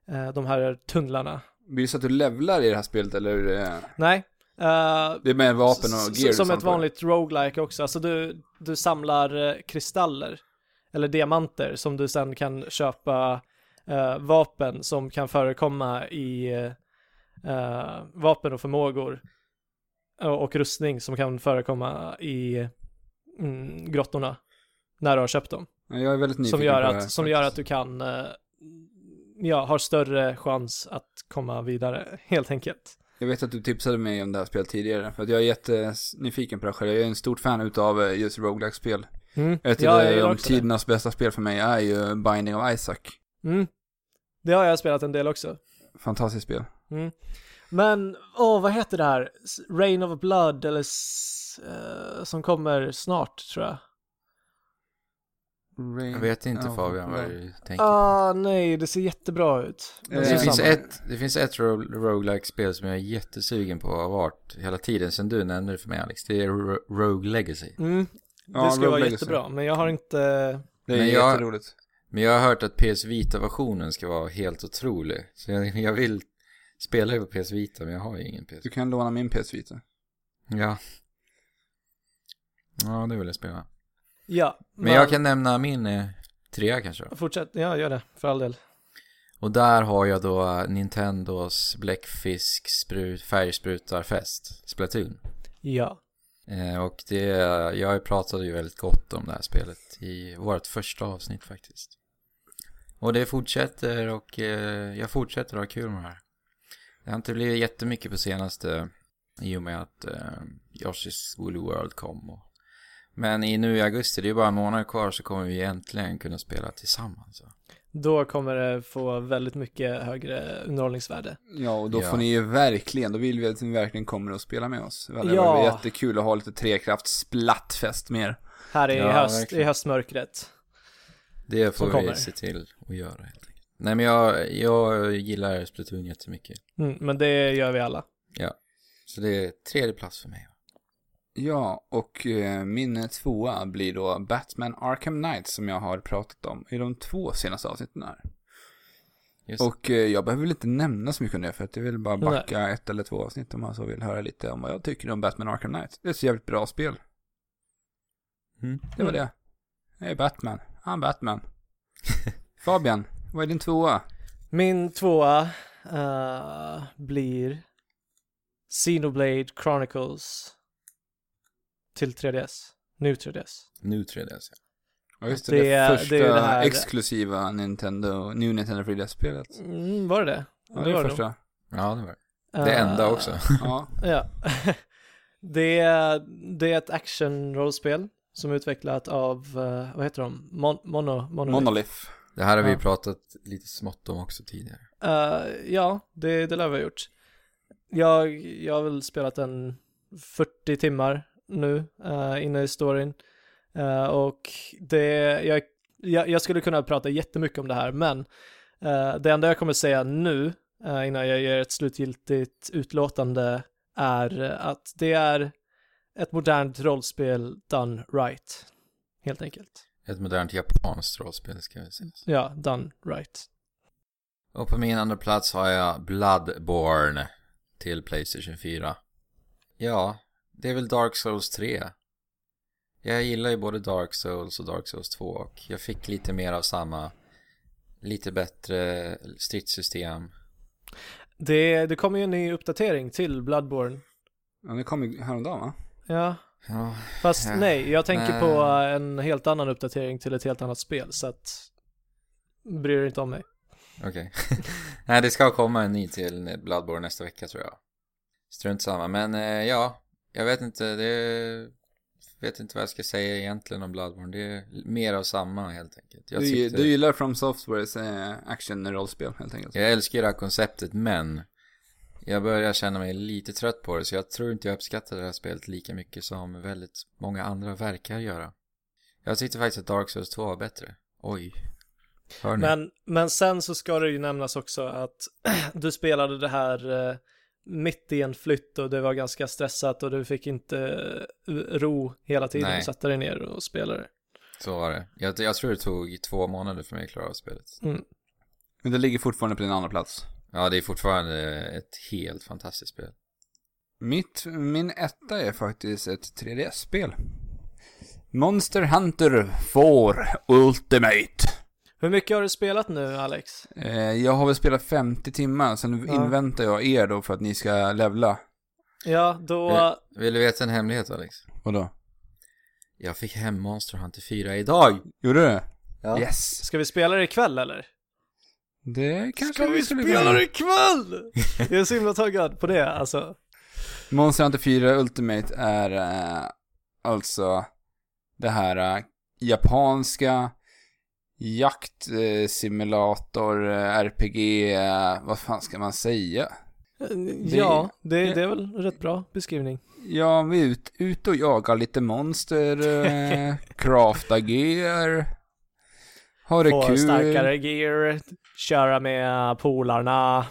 A: eh, de här tunnlarna.
C: Blir det så att du levlar i det här spelet, eller? hur det är?
A: Nej, eh,
C: Det är med vapen
A: S-
C: och
A: s-
C: gear och
A: Som
C: sånt,
A: ett vanligt roguelike också, alltså du, du samlar eh, kristaller, eller diamanter, som du sen kan köpa eh, vapen som kan förekomma i eh, vapen och förmågor och, och rustning som kan förekomma i mm, grottorna när du har köpt dem.
C: Ja, Jag är väldigt nyfiken
A: Som gör,
C: på det här,
A: att, som gör att
C: faktiskt.
A: du kan, eh, ja, har större chans att komma vidare, helt enkelt.
C: Jag vet att du tipsade mig om det här spelet tidigare, för att jag är jättenyfiken på det här själv. Jag är en stor fan utav eh, just roguelike spel
A: Mm.
C: Ett
A: Ja, jag
C: av
A: gillar
C: de
A: också det.
C: eh, tidernas bästa spel för mig är ju Binding of Isaac.
A: Mm. Det har jag spelat en del också.
C: Fantastiskt spel.
A: Men, åh, vad heter det här? S- Rain of Blood, eller s- eh, som kommer snart, tror jag.
B: Jag vet inte
C: Mm. Ja,
B: Fabian vad
C: nej.
B: du tänker.
A: Ah, nej, det ser jättebra ut. Men
C: Eh,
A: är
B: Det finns,
A: samma.
B: ett, det finns ett ro- roguelike spel som jag är jättesugen på och har varit hela tiden sen du nämnde det för mig Alex. Det är Ro- Rogue Legacy.
A: Mm,
C: Ja,
A: det ska
C: Rogue
A: vara
C: Legacy.
A: jättebra, men jag har inte...
C: Det är
B: Men jag-
C: jätteroligt.
B: Men jag har hört att PS Vita-versionen ska vara helt otrolig. Så jag, jag vill spela det på PS Vita men jag har ju ingen PS
C: Du kan låna min PS Vita.
B: Ja. Ja, det vill jag spela.
A: Ja,
B: Men jag kan nämna min eh, trea kanske. då.
A: Fortsätt, ja, gör det, för all del.
B: Och där har jag då eh, Nintendos bläckfisk sprut, färgsprutarfest, Splatoon.
A: Ja.
B: Eh, och det, jag pratade ju väldigt gott om det här spelet i vårt första avsnitt faktiskt. Och det fortsätter och eh, jag fortsätter att ha kul med det här. Det har inte blivit jättemycket på senaste i och med att eh, Yoshi's Woolly World kom. Och... Men i nu i augusti, det är ju bara en månad kvar så kommer vi äntligen kunna spela tillsammans. va?
A: Då kommer det få väldigt mycket högre underhållningsvärde.
C: Ja, och då
B: Ja.
C: får ni ju verkligen, då vill vi att ni verkligen kommer och spelar med oss. Det hade
A: Ja.
C: varit jättekul att ha lite trekrafts-splattfest med er.
A: Här i,
B: Ja,
A: höst, i
B: verkligen.
A: höstmörkret.
B: Det
A: Som
B: får
A: kommer.
B: vi se till att göra helt enkelt. Nej men jag, jag gillar Splatoon jättemycket.
A: Mm, men det gör vi alla.
B: Så det är tredje plats för mig.
C: Ja, och eh, min tvåa blir då Batman Arkham Knight som jag har pratat om i de två senaste avsnitten här.
B: Just det.
C: Och eh, jag behöver väl inte nämna så mycket om det för att jag vill bara backa ett eller två avsnitt om man så vill höra lite om vad jag tycker om Batman Arkham Knight. Det är ett jävligt bra spel.
B: Mm.
C: Det var det. Jag är Batman. Han Batman. Fabian, vad är din tvåa?
A: Min tvåa eh, blir Xenoblade Chronicles till 3DS. Nu 3DS.
B: Nu 3DS. ja.
C: Ja just det,
A: Det
C: det,
A: är- det är
C: första
A: ju det här-
C: exklusiva Nintendo, New Nintendo 3DS-spelet.
A: Mm, var det det?
C: Ja, det är
A: nog.
C: första.
B: Ja, det var det. Det
A: Eh,
B: enda också.
C: Ja.
A: Ja. det, är, det är ett action-rollspel som är utvecklat av, eh, vad heter de? Mon- mono, mono.
C: Monolith.
B: Det här har vi
A: Ja.
B: pratat lite smått om också tidigare.
A: Eh, ja, det, det lär vi ha gjort. Jag, jag har väl spelat en 40 timmar nu eh, inne i storyn. Eh, och det, jag, jag, jag skulle kunna prata jättemycket om det här, men eh, det enda jag kommer säga nu, eh, innan jag ger ett slutgiltigt utlåtande, är eh, att det är ett modernt rollspel done right, helt enkelt.
B: Ett modernt japanskt rollspel ska vi säga.
A: Ja, done right.
B: Och på min andra plats har jag Bloodborne till Playstation 4. Ja, det är väl Dark Souls 3. Jag gillar ju både Dark Souls och Dark Souls 2 och jag fick lite mer av samma. Lite bättre stridssystem.
A: Det, det kommer ju en ny uppdatering till Bloodborne.
C: Ja, det kom ju häromdagen va?
A: Ja,
B: Ja,
A: Fast
B: Ja.
A: nej, jag tänker
B: Nej.
A: på eh, en helt annan uppdatering till ett helt annat spel, så att bryr dig inte om mig.
B: okej. Nej, det ska komma en ny till Bloodborne nästa vecka tror jag. Strunt samma, men eh, ja, jag vet inte, det... Vet inte vad jag ska säga egentligen om Bloodborne. Det är mer av samma helt enkelt. Jag
C: Du,
B: tyckte-
C: du gillar From Softwares eh, action-rollspel helt enkelt.
B: Jag älskar ju det här konceptet men jag börjar känna mig lite trött på det så jag tror inte jag uppskattar det här spelet lika mycket som väldigt många andra verkar göra. Jag tyckte faktiskt att Dark Souls 2 var bättre. Oj. Hör ni?
A: Men, men sen så ska det ju nämnas också att du spelade det här eh, mitt i en flytt och det var ganska stressat och du fick inte eh, ro hela tiden
B: Nej.
A: och sätta dig ner och spela det.
B: Så var det. Jag, jag tror det tog två månader för mig att klara av spelet.
C: Men det ligger fortfarande på din andra plats.
B: Ja, det är fortfarande ett helt fantastiskt spel.
C: Mitt, min etta är faktiskt ett 3DS-spel. Monster Hunter 4 Ultimate.
A: Hur mycket har du spelat nu, Alex?
C: Eh, jag har väl spelat 50 timmar, sen
A: Ja.
C: inväntar jag er då för att ni ska levla.
A: Ja, då...
B: Eh. Vill du veta en hemlighet Alex?
C: Vadå?
B: Jag fick hem Monster Hunter 4 idag!
C: Gjorde du det?
B: Ja.
C: Yes!
A: Ska vi spela det ikväll, eller?
C: Det kanske
A: Ska vi
C: skulle
A: spela
C: kunna.
A: det ikväll? Jag är så himla taggad på det, alltså.
C: Monster Hunter 4 Ultimate är eh, alltså det här eh, japanska jaktsimulator, eh, simulator, eh, RPG, eh, vad fan ska man säga?
A: Ja, det, det är väl rätt bra beskrivning.
C: Ja, vi är ut, ut och jagar lite monster, eh, crafta gear, har det
A: Få
C: kul.
A: starkare gear, köra med polarna.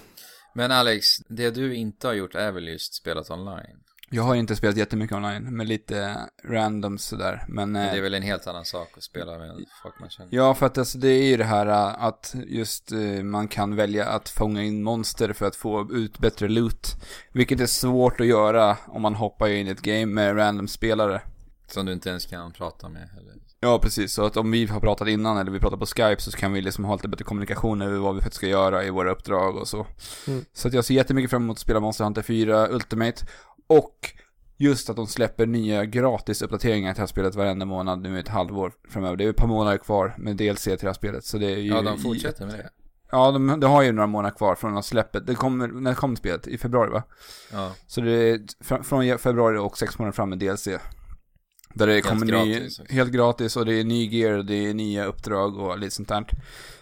B: Men Alex, det du inte har gjort är väl just spelat online?
C: Jag har inte spelat jättemycket online, men lite random sådär. Men, eh,
B: Det är väl en helt annan sak att spela med folk man känner.
C: Ja, för att alltså, det är ju det här äh, att just eh, man kan välja att fånga in monster för att få ut bättre loot. Vilket är svårt att göra om man hoppar in i ett game med random spelare.
B: Som du inte ens kan prata med heller.
C: Ja, precis. Så att om vi har pratat innan eller vi pratar på Skype så kan vi liksom ha lite bättre kommunikation över vad vi faktiskt ska göra i våra uppdrag och så.
A: Mm.
C: Så att jag ser jättemycket fram emot att spela Monster Hunter 4 Ultimate. Och just att de släpper nya gratis uppdateringar till det här spelet varenda månad nu i ett halvår framöver. Det är ett par månader kvar med DLC till det här spelet. Så det är ju...
B: Ja, de fortsätter med det.
C: Ja, de, de har ju några månader kvar från att släppet. Det kommer, när kom spelet? I februari va?
B: Ja,
C: Så det är fr- från februari och sex månader fram med DLC. Där det kommer ny,
B: gratis också.
C: helt gratis och det är ny gear och det är nya uppdrag och lite sånt där.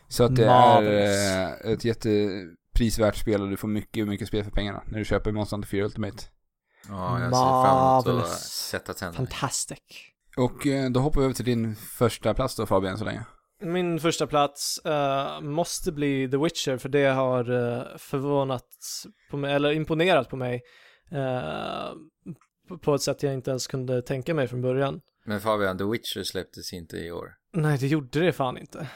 C: Så att det
A: Marvelous.
C: är eh, ett jätteprisvärt spel och du får mycket, mycket spel för pengarna när du köper Monster Hunter 4 Ultimate.
B: ja jag ser fram emot att
A: Marvelous.
B: sätta tänderna i.
A: Fantastic.
C: Och eh, då hoppar vi över till din första plats då Fabian så länge.
A: Min första plats eh, måste bli The Witcher för det har eh, förvånat på mig, eller imponerat på mig eh, på- på ett sätt jag inte ens kunde tänka mig från början.
B: Men Fabian, The Witcher släpptes inte i år.
A: Nej, det gjorde det fan inte.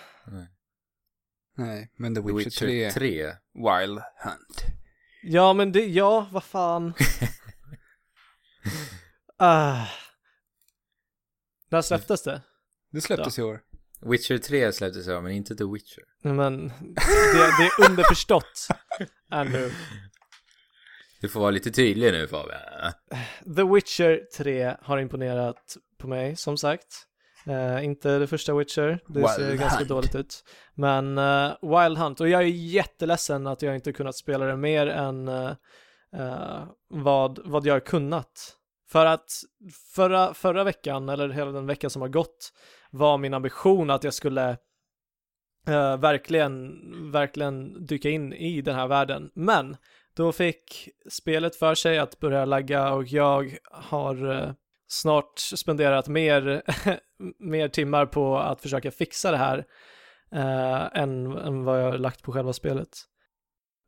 C: Nej, men The
B: The
C: Witcher,
B: Witcher
C: 3,
B: 3.
C: Wild Hunt.
A: Ja, men det, ja, vad fan. Ah. När släpptes det?
C: Det släpptes i år.
B: Witcher 3 släpptes jag, men inte The Witcher.
A: Nej, Men det, det är underförstått. Andrew.
B: Du får vara lite tydlig nu Fabian.
A: The Witcher 3 har imponerat på mig, som sagt. Eh, inte det första Witcher, det
C: Wild
A: ser ganska
C: Hunt.
A: dåligt ut. Men eh, Wild Hunt, och jag är jätteledsen att jag inte kunnat spela det mer än eh, eh, vad, vad jag har kunnat. För att förra, förra veckan, eller hela den veckan som har gått, var min ambition att jag skulle eh, verkligen, verkligen dyka in i den här världen. Men då fick spelet för sig att börja lagga och jag har eh, snart spenderat mer, mer timmar på att försöka fixa det här eh, än, än vad jag har lagt på själva spelet.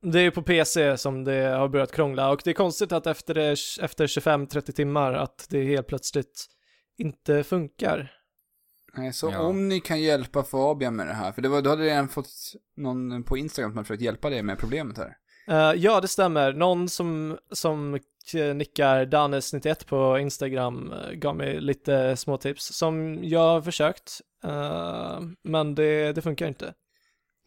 A: Det är ju på PC som det har börjat krångla och det är konstigt att efter, det, efter 25-30 timmar att det helt plötsligt inte funkar.
C: Nej, så
B: Ja.
C: om ni kan hjälpa Fabian med det här, för det var, du hade redan fått någon på Instagram som hade försökt hjälpa dig med problemet här.
A: Eh, ja, det stämmer. Någon som, som k- nickar Danes91 på Instagram eh, gav mig lite små tips som jag har försökt, eh, men det, det funkar inte.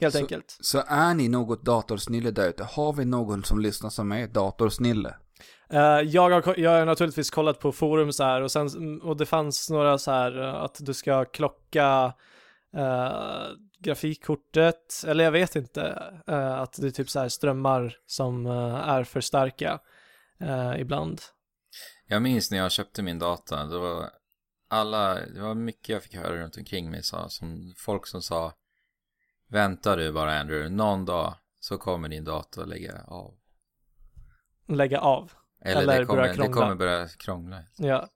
A: Helt
C: Så-
A: enkelt.
C: Så är ni något datorsnille där ute, har vi någon som lyssnar som är datorsnille?
A: Eh, jag, har, ko- jag har naturligtvis kollat på forum så här och, sen, mm, och det fanns några så här eh, att du ska klocka eh, grafikkortet, eller jag vet inte, eh, att det är typ så här strömmar som eh, är för starka eh, ibland.
B: Jag minns när jag köpte min data, det var alla, det var mycket jag fick höra runt omkring mig sa, som folk som sa Vänta du bara Andrew, någon dag så kommer din dator lägga av.
A: Lägga av.
B: Eller,
A: Eller
B: det, kommer,
A: börja
B: det
A: krångla.
B: kommer börja krångla.
A: Ja.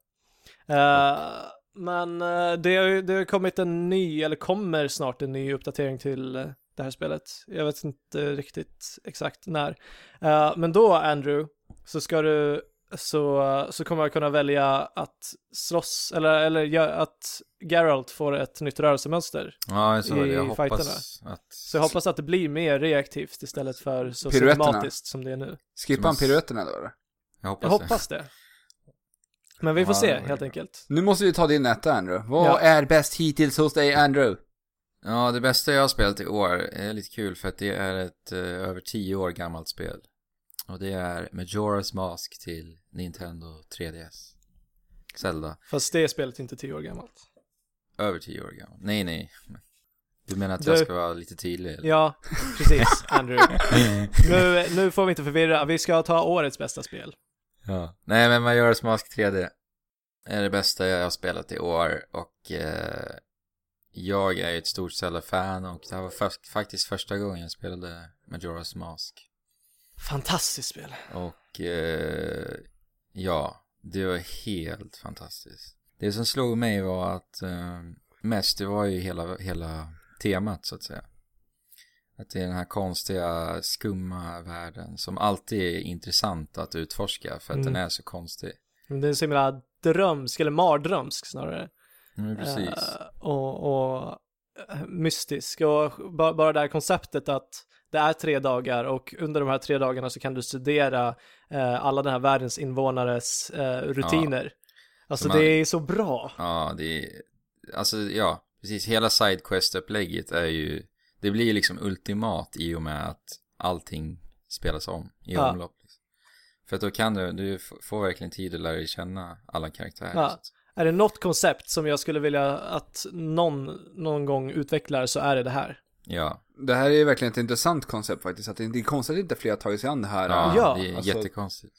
A: Eh, men eh, det, har, ju- det har kommit en ny, eller kommer snart en ny uppdatering till eh, det här spelet. Jag vet inte riktigt exakt när. Eh, men då, Andrew, så ska du, så, så kommer jag kunna välja att slåss, eller, eller ja, att Geralt får ett nytt rörelsemönster.
B: Ja, jag såg det. Jag
A: I
B: hoppas att...
A: Så jag hoppas att det blir mer reaktivt istället för så
C: Piruetterna.
A: systematiskt som det är nu.
C: Skippa han
B: Måste-
C: piruetterna då eller?
B: jag hoppas
A: Jag hoppas det. Men vi får
B: Alltså. Ja,
A: se,
B: det var
A: helt
B: det.
A: enkelt.
C: Nu måste vi ta din nätta Andrew. Vad
A: Ja.
C: är bäst hittills hos dig Andrew?
B: Ja, det bästa jag har spelat i år är lite kul för att det är ett eh, över tio år gammalt spel. Och det är Majora's Mask till Nintendo 3DS. Zelda.
A: Fast det spelet är inte tio år gammalt.
B: Över tio år gammal. Nej, nej. Du menar att
A: Du-
B: jag ska vara lite tydlig? Eller?
A: Ja, precis, Andrew. Nu, nu får vi inte förvirra, vi ska ta årets bästa spel.
B: Ja. Nej, men Majora's Mask 3D är det bästa jag har spelat i år och eh, jag är ju ett stort Zelda-fan och det här var fak- faktiskt första gången jag spelade Majora's Mask.
A: Fantastiskt spel.
B: Och eh, ja, det var helt fantastiskt. Det som slog mig var att eh, mest, det var ju hela, hela temat så att säga. Att det är den här konstiga, skumma världen som alltid är intressant att utforska för att
A: Mm.
B: den är så konstig.
A: Men Det är så himla drömsk, eller mardrömsk snarare.
B: Mm, precis.
A: Eh, och, och eh, mystisk. Och bara, bara det här konceptet att det är tre dagar och under de här tre dagarna så kan du studera eh, alla den här världens invånares eh, rutiner. Alltså
B: Så man-
A: det är så bra.
B: Ja, det är... Alltså, ja, precis. Hela Sidequest-upplägget är ju... Det blir ju liksom ultimat i och med att allting spelas om i
A: Ja.
B: omlopp. Liksom. För att då kan du... Du f- får verkligen tid att lära dig känna alla karaktärer.
A: Ja.
B: så att-
A: Är det något koncept som jag skulle vilja att någon, någon gång utvecklar så är det det här.
B: ja.
C: Det här är ju verkligen ett intressant koncept faktiskt. Att det det är konstigt att inte fler har tagit sig an det här.
B: Ja,
A: Ja,
B: det är
C: alltså-
B: jättekonstigt.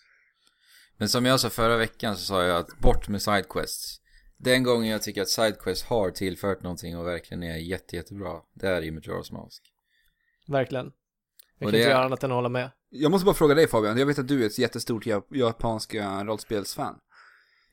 B: Men som jag sa förra veckan så sa jag att bort med sidequests. Den gången jag tycker att sidequests har tillfört någonting och verkligen är jätte, jättebra, det är i Majora's Mask.
A: Verkligen. Jag
B: Och
A: kan
B: det
A: inte
B: är-
A: göra annat än att hålla med.
C: Jag måste bara fråga dig Fabian, jag vet att du är ett jättestort jap- japanska rollspelsfan.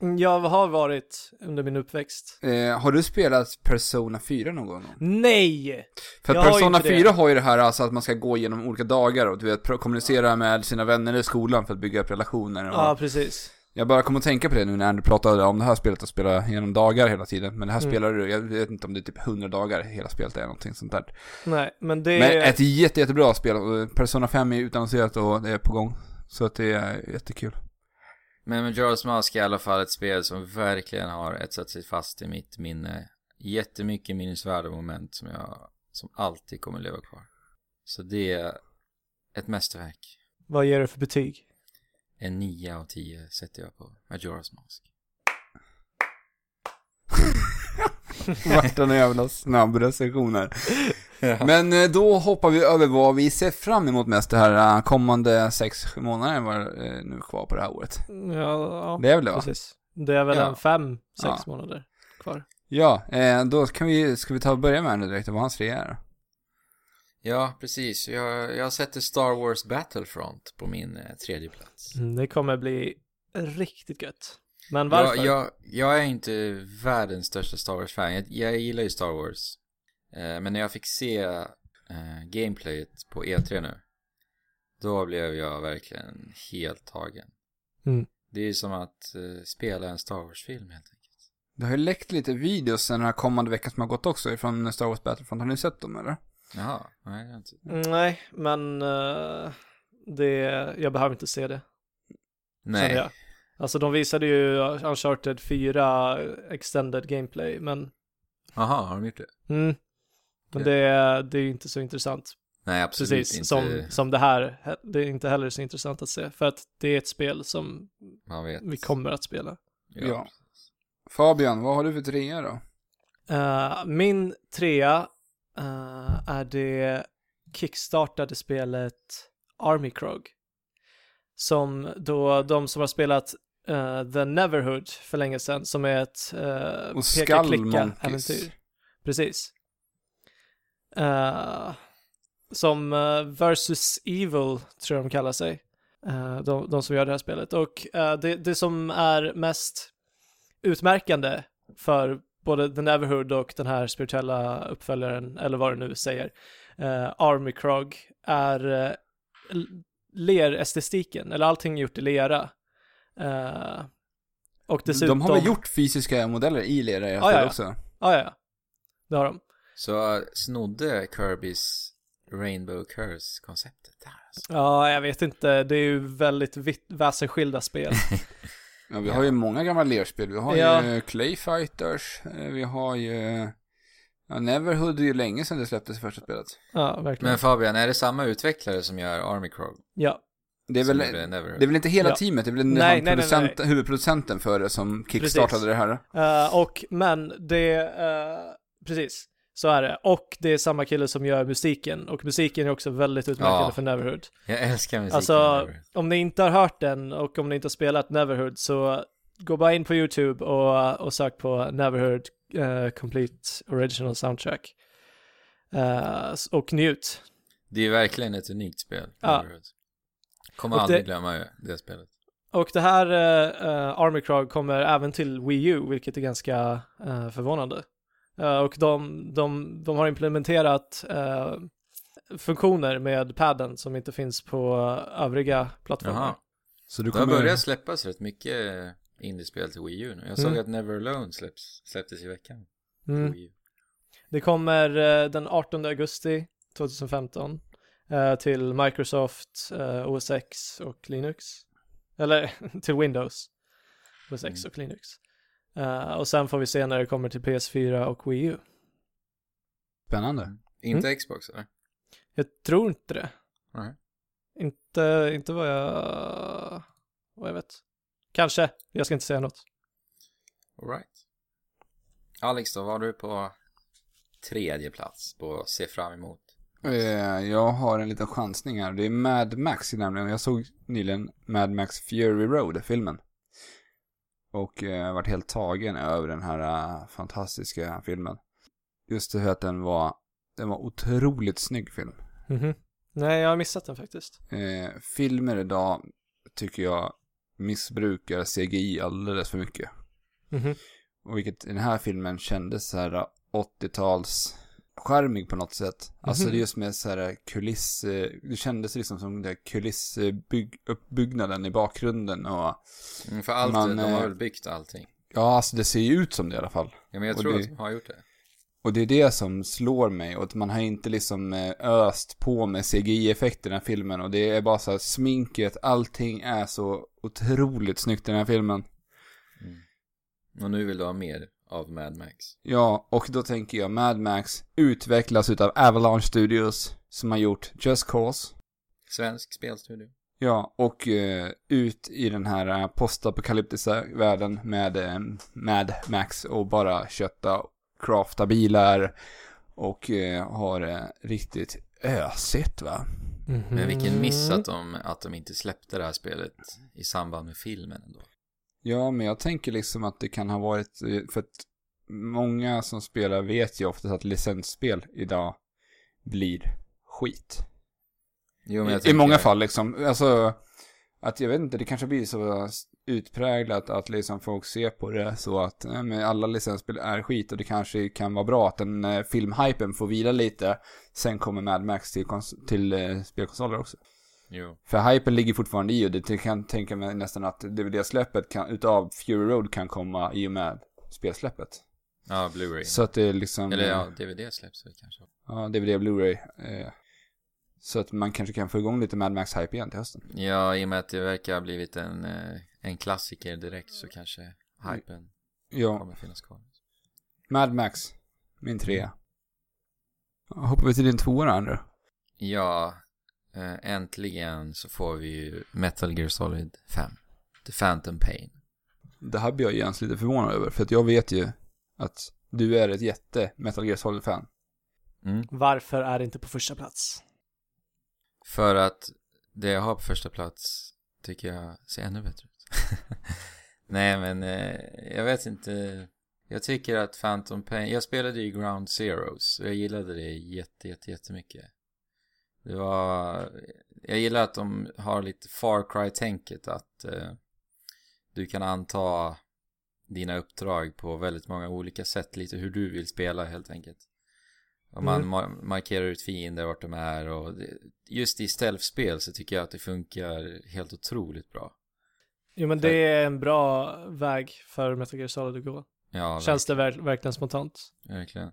A: Mm, Jag har varit under min uppväxt.
C: Eh, har du spelat Persona 4 någon gång?
A: Nej!
C: För att
A: Jag har ju
C: Persona
A: inte det.
C: 4 har ju det här alltså att man ska gå igenom olika dagar och du vet pro- kommunicera med sina vänner i skolan för att bygga upp relationer. Och
A: Ja, precis.
C: Jag bara kom att tänka på det nu när du pratade om det här spelet att spela genom dagar hela tiden. Men det här
A: Mm.
C: spelar du, jag vet inte om det är typ 100 dagar hela spelet är någonting sånt där.
A: Nej, men det
C: Men
A: är...
C: ett jätte, jättebra spel. och Persona 5 är utannonserat och det är på gång. Så att det är jättekul.
B: Men Majora's Mask är i alla fall ett spel som verkligen har etsat sig fast i mitt minne. Jättemycket minnesvärda moment som jag, som alltid kommer leva kvar. Så det är ett mästerverk.
A: Vad ger du för betyg?
B: En 9 av 10 sätter jag på Majora's Mask.
C: Vart en jävla snabb recension här. Men eh, då hoppar vi över vad vi ser fram emot mest det här eh, kommande sex månaderna var eh, nu kvar på det här året.
A: Ja, ja
C: Det är väl det va?
A: precis. Det är väl
C: Ja.
A: en fem, sex
C: Ja.
A: månader kvar.
C: Ja, eh, då kan vi, ska vi ta och börja med nu direkt vad hans tre är.
B: Ja, precis. Jag, jag sätter Star Wars Battlefront på min eh, tredje plats.
A: Mm, Det kommer bli riktigt gött. Men varför?
B: Jag, jag, jag är inte världens största Star Wars-fan. Jag, jag gillar ju Star Wars. Eh, men när jag fick se eh, gameplayet på E3 nu, då blev jag verkligen helt tagen.
A: Mm.
B: Det är som att eh, spela en Star Wars-film helt enkelt.
C: Det har ju läckt lite videos sen den här kommande veckan som har gått också ifrån Star Wars Battlefront. Har ni sett dem eller?
B: Jaha, nej, det har jag inte.
A: Nej, men eh, det, jag behöver inte se det. känner
B: Nej,
A: Jag. Alltså de visade ju Uncharted 4 extended gameplay, men,
B: jaha, har de gjort det?
A: mm, men det, det är ju inte så intressant.
B: Nej, absolut
A: Precis
B: inte.
A: som, som det här. Det är inte heller så intressant att se, för att det är ett spel som
B: Man vet.
A: vi kommer att spela.
B: Ja.
C: Ja. Fabian, vad har du för trea då?
A: Eh, min trea eh, är det kickstartade spelet Army Krog. Som då de som har spelat eh, The Neverhood för länge sedan, som är ett uh,
C: Och Skallmonkeys.
A: äventyr Precis. Eh, som eh, Versus Evil, tror jag de kallar sig. Eh, de, de som gör det här spelet. Och eh, det, det som är mest utmärkande för både The Neverhood och den här spirituella uppföljaren, eller vad det nu säger, eh, Army Krog, är eh, l- lerestetiken, eller allting gjort i lera. Eh, och dessutom... Ah,
C: De har väl gjort fysiska modeller i lera i
A: Ja,
C: alla
A: ja,
C: fall
A: ja.
C: också?
A: Ja, ja, ja. Det har de.
B: Så eh, snodde Kirbys Rainbow Curse-konceptet där alltså.
A: Ja, jag vet inte. Det är ju väldigt vitt, väsensskilda spel.
C: Ja, vi har ju många gamla lerspel. Vi har
A: Ja.
C: ju Clayfighters, eh, vi har ju... Ja, Neverhood är ju länge sedan det släpptes första spelet.
A: Ja, verkligen.
B: Men Fabian, är det samma utvecklare som gör Army Crow?
A: Ja,
C: Det är,
B: Som
C: väl,
B: gjorde Neverhood?
C: det är väl inte hela
A: Ja.
C: teamet, det är väl
A: Nej,
C: den här
A: nej, nej,
C: producent, huvudproducenten för det som kickstartade
A: Precis.
C: det här.
A: Eh, och men det, eh, precis, så är det. Och det är samma kille som gör musiken. Och musiken är också väldigt utmärkande
B: Ja.
A: för Neverhood.
B: Jag älskar musiken.
A: Alltså,
B: Neverhood.
A: om ni inte har hört den och om ni inte har spelat Neverhood så gå bara in på YouTube och, och sök på Neverhood eh, Complete Original Soundtrack. Eh, s- och njut.
B: Det är verkligen ett unikt spel.
A: Ja.
B: Neverhood. Kommer
A: Och
B: aldrig
A: det-
B: glömma ju det spelet.
A: Och det här eh, eh, Army Krog kommer även till Wii U, vilket är ganska eh, förvånande. Eh, och de, de, de har implementerat eh, funktioner med padden som inte finns på övriga plattformar.
B: Jaha.
C: Så du
B: Det har börjat släppas rätt mycket indiespel till Wii U nu. Jag såg
A: Mm.
B: att Never Alone släpps, släpptes i veckan. på
A: Mm.
B: Wii U.
A: Det kommer eh, den 18 augusti 2015 eh, till Microsoft, eh, OS X och Linux. Eller till Windows, OS X och Linux. Eh, och sen får vi se när det kommer till PS4 och Wii U.
C: Spännande.
B: Inte
A: Mm.
B: Xbox eller?
A: Jag tror inte det.
B: Nej.
A: Inte, inte vad jag... Vad jag vet. Kanske. Jag ska inte säga något.
B: Alright. Alex då, var du på tredje plats på se fram emot?
C: Eh, Jag har en liten chansning här. Det är Mad Max nämligen. Jag såg nyligen Mad Max Fury Road, filmen. Och eh, varit helt tagen över den här eh, fantastiska filmen. Just det här att den var, den var otroligt snygg film.
A: Mhm. Nej, jag har missat den faktiskt.
C: Eh, filmer idag tycker jag missbrukar CGI alldeles för mycket.
A: Mhm.
C: Och vilket i den här filmen kändes så här 80-tals charmig på något sätt. Alltså det är just med så här kuliss, eh, det kändes liksom som den där kulissuppbyggnaden i bakgrunden och
B: Mm, för allt,
C: Man,
B: de har
C: eh,
B: väl byggt allting.
C: ja, alltså det ser ju ut som det i alla fall.
B: Ja, men jag
C: och
B: tror
C: det-
B: att de har gjort det.
C: Och det är det som slår mig, och att man har inte liksom eh, öst på med CGI-effekter i den här filmen, och det är bara så här sminket, allting är så otroligt snyggt i den här filmen.
B: Och nu vill du ha mer av Mad Max.
C: Ja, och då tänker jag Mad Max utvecklas utav Avalanche Studios, som har gjort Just Cause,
B: Svensk spelstudio.
C: Ja, och eh, ut i den här eh, postapokalyptiska världen med eh, Mad Max och bara kötta, crafta bilar och eh, har eh, riktigt ösigt va?
A: Mhm.
B: Men vilken miss
C: Mm.
B: att de, att de inte släppte det här spelet i samband med filmen ändå.
C: Ja, men jag tänker liksom att det kan ha varit, eh, för att många som spelar vet ju oftast att licensspel idag blir skit.
B: Jo,
C: I,
B: jag
C: I
B: tänker-
C: många fall liksom. Alltså, att jag vet inte, det kanske blir så utpräglat att liksom folk ser på det så att nej, men alla licensspel är skit och det kanske kan vara bra att den eh, filmhypen får vila lite. Sen kommer Mad Max till, kons- till eh, spelkonsoler också.
B: Jo.
C: För hypen ligger fortfarande i och det jag kan tänka mig nästan att DVD-släppet kan, utav Fury Road kan komma i och med spelsläppet.
B: Ja, Blu-ray.
C: Så att det är liksom...
B: Eller
C: eh,
B: ja, DVD släpps väl kanske.
C: ja, DVD och Blu-ray. Eh, så att man kanske kan få igång lite Mad Max-hype igen till hösten.
B: Ja, i och med att det verkar ha blivit en, eh, en klassiker direkt så kanske hypen
C: Ja,
B: kommer finnas kvar.
C: Mad Max. Min trea.
B: Mm.
C: Hoppar vi till din tvåa då, Andrew?
B: Ja, eh, äntligen så får vi ju Metal Gear Solid 5. The Phantom Pain.
C: Det här blir jag Jens lite förvånad över, för att jag vet ju att du är ett jätte Metal Gear Solid-fan.
B: Mm.
A: Varför är det inte på första plats?
B: För att det jag har på första plats tycker jag ser ännu bättre ut. Nej men eh, jag vet inte. Jag tycker att Phantom Pain, jag spelade ju Ground Zeroes och jag gillade det jätte, jätte, jättemycket. Det var, jag gillar att de har lite Far Cry-tänket att eh, du kan anta dina uppdrag på väldigt många olika sätt, lite hur du vill spela helt enkelt. Och man
A: Mm.
B: mar- markerar ut fiender vart de är och det, just i stealth-spel så tycker jag att det funkar helt otroligt bra.
A: Jo men det är en bra väg för Metal Gear Solid att gå.
B: Ja,
A: Känns det ver- verkligen spontant?
B: Verkligen.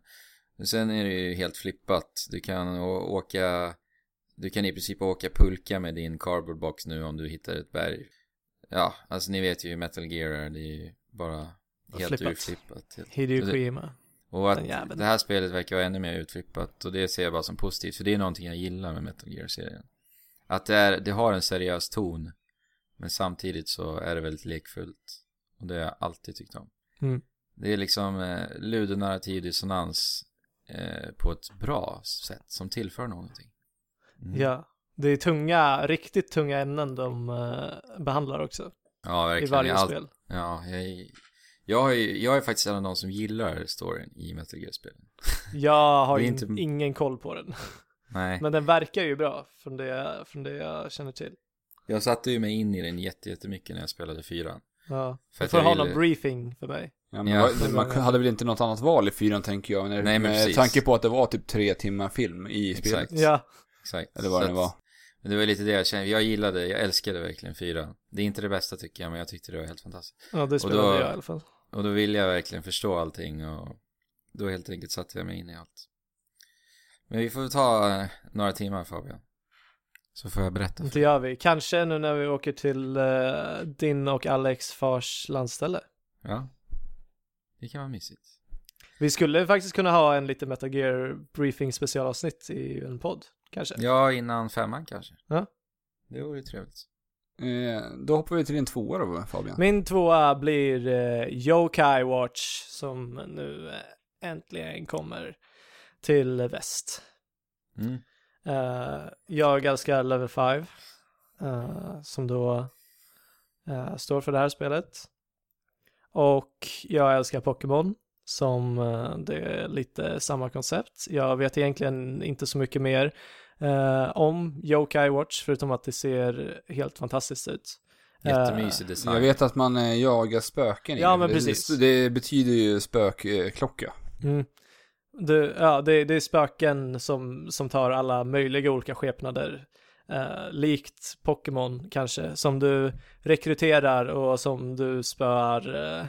B: Sen är det ju helt flippat. Du kan å- åka... Du kan i princip åka pulka med din cardboardbox nu om du hittar ett berg. Ja, alltså ni vet ju hur Metal Gear är. Det är ju bara helt
A: Flippat.
B: urflippat.
A: Hideo
B: Så det- Mm.
A: Kojima.
B: Och
A: Den
B: att
A: jäveln.
B: det här spelet verkar vara ännu mer utflippat och det ser jag bara som positivt för det är någonting jag gillar med Metal Gear-serien. Att det, är, det har en seriös ton men samtidigt så är det väldigt lekfullt och det har jag alltid tyckt om.
A: Mm.
B: Det är liksom eh, ludonarrativ dissonans eh, på ett bra sätt som tillför någonting.
A: Ja. Det är tunga, riktigt tunga ämnen de eh, behandlar också.
B: Ja,
A: I
B: verkligen.
A: varje
B: Jag har all-
A: spel.
B: Ja, jag, jag, är, jag är faktiskt en av de som gillar storyn i Metal Gear-spelen.
A: Jag har
B: Det är
A: in,
B: inte-
A: ingen koll på den.
B: Nej.
A: Men den verkar ju bra från det, jag- från det jag känner till.
B: Jag satte ju mig in i den jätte- jättemycket när jag spelade fyran.
A: Ja.
B: För
A: Du
B: att
A: får
B: jag
A: ha någon
B: gillar-
A: briefing för mig.
C: Ja, men
B: Ja.
C: vad- Man hade väl inte något annat val i fyran, tänker jag. När,
B: Nej, men
C: med
B: precis.
C: tanke på att det var typ tre timmar film i spelet.
B: Exakt.
A: Ja.
B: Exakt.
C: Eller vad
B: Så
C: det
B: att-
C: var.
B: Men det var lite det jag kände. Jag gillade, jag älskade verkligen fyran. Det är inte det bästa tycker jag, men jag tyckte det var helt fantastiskt.
A: Ja, det spelade
B: då-
A: jag i alla fall.
B: Och då ville jag verkligen förstå allting och då helt enkelt satte jag mig in i allt. Men vi får väl ta eh, några timmar Fabian. Så får jag berätta.
A: Det gör vi. Kanske nu när vi åker till eh, din och Alex fars landställe.
B: Ja. Det kan vara mysigt.
A: Vi skulle faktiskt kunna ha en lite Metal Gear briefing specialavsnitt i en podd. Kanske.
B: Ja, innan femman kanske.
A: Ja.
B: Det vore ju trevligt.
C: Eh, då hoppar vi till din tvåa då, Fabian.
A: Min tvåa blir eh, Yokai Watch som nu eh, äntligen kommer till väst.
B: Mm.
A: Eh, jag älskar Level 5 eh, som då eh, står för det här spelet. Och jag älskar Pokémon som eh, det är lite samma koncept. Jag vet egentligen inte så mycket mer eh, om Yokai Watch förutom att det ser helt fantastiskt ut. Eh,
B: Jättemysig design.
C: Jag vet att man eh, jagar spöken i
A: Ja,
C: det.
A: men
C: Det-
A: precis.
C: Det, det betyder ju spökklocka.
A: Mm. Det, ja, det, det är spöken som, som tar alla möjliga olika skepnader. Eh, likt Pokémon kanske, som du rekryterar och som du spöar eh,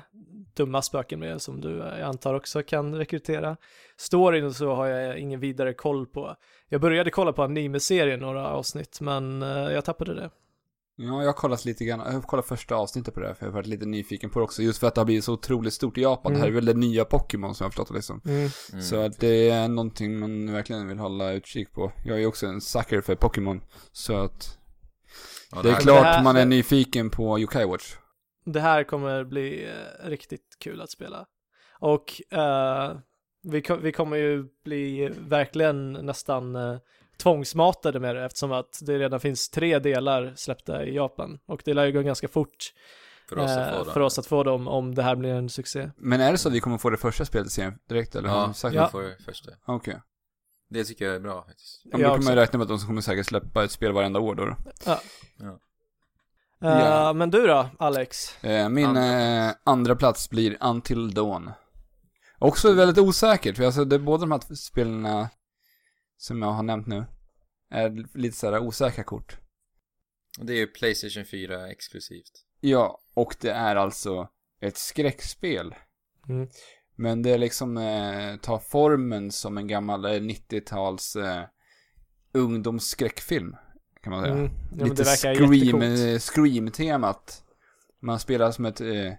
A: dumma spöken med, som du eh, jag antar också kan rekrytera. Storyn och så har jag ingen vidare koll på. Jag började kolla på anime-serien några avsnitt, men eh, jag tappade det.
C: Ja, jag har kollat lite grann. Jag har kollat första avsnittet på det här, för jag har varit lite nyfiken på det också. Just för att det har blivit så otroligt stort i Japan. Det här är väl det nya Pokémon som jag har förstått det liksom.
B: Mm.
C: Så att det är någonting man verkligen vill hålla utkik på. Jag är ju också en sucker för Pokémon. Så att
B: Ja,
C: det är
B: här-
C: klart
A: Det här-
C: man är nyfiken på Yokai Watch.
A: Det här kommer bli eh, riktigt kul att spela. Och eh, vi, ko- vi kommer ju bli verkligen nästan eh, tvångsmatade med det eftersom att det redan finns tre delar släppta i Japan. Och det lär ju gå ganska fort
B: För oss att
A: eh,
B: få den.
A: för oss att få dem om det här blir en succé.
C: Men är det så att vi kommer få det första spelet i serien direkt eller? har
B: Ja,
C: de sagt
B: vi
A: Ja.
C: det?
B: får det första.
C: Okej.
B: Det tycker jag är bra faktiskt.
C: Ja, men
A: Jag
C: då kan
A: också.
C: man ju räkna med att de kommer säkert släppa ett spel varenda år då. då.
A: Eh,
C: Ja.
A: Men du då, Alex?
C: Eh, min
B: Andra
C: andra. Eh, andra plats blir Until Dawn. Också väldigt osäkert, för alltså det är båda de här spelarna som jag har nämnt nu är lite sådär osäkra kort.
B: Och det är ju Playstation 4 exklusivt.
C: Ja, och det är alltså ett skräckspel.
A: Mm.
C: Men det är liksom eh, tar formen som en gammal eh, 90-tals eh, ungdomsskräckfilm, kan man säga.
A: Mm, ja, men
C: lite
A: det verkar
C: scream,
A: jättecoolt.
C: eh, scream-temat. Man spelar som ett, eh,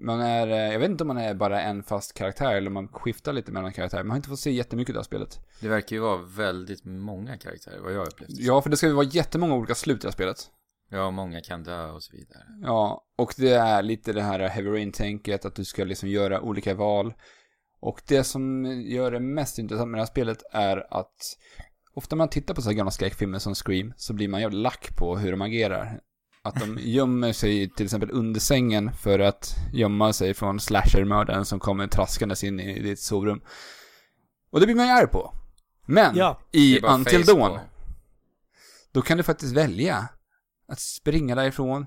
C: man är, eh, jag vet inte om man är bara en fast karaktär eller om man skiftar lite mellan karaktärer. Man har inte fått se jättemycket av det här spelet.
B: Det verkar ju vara väldigt många karaktärer, vad jag har upplevt.
C: Ja, för det ska ju vara jättemånga olika slut i det här spelet.
B: Ja, många kan dö och så vidare.
C: Ja, och det är lite det här heavy rain-tänket, att du ska liksom göra olika val. Och det som gör det mest intressant med det här spelet är att ofta när man tittar på så här gamla skräckfilmer som Scream så blir man jävligt lack på hur de agerar. Att de gömmer sig till exempel under sängen för att gömma sig från slashermördaren som kommer traskandes in i ditt sovrum. Och det blir man ju arg på. Men
A: Ja.
B: Det
C: i
B: är bara
C: Until
B: face
C: Dawn
B: på.
C: då kan du faktiskt välja att springa därifrån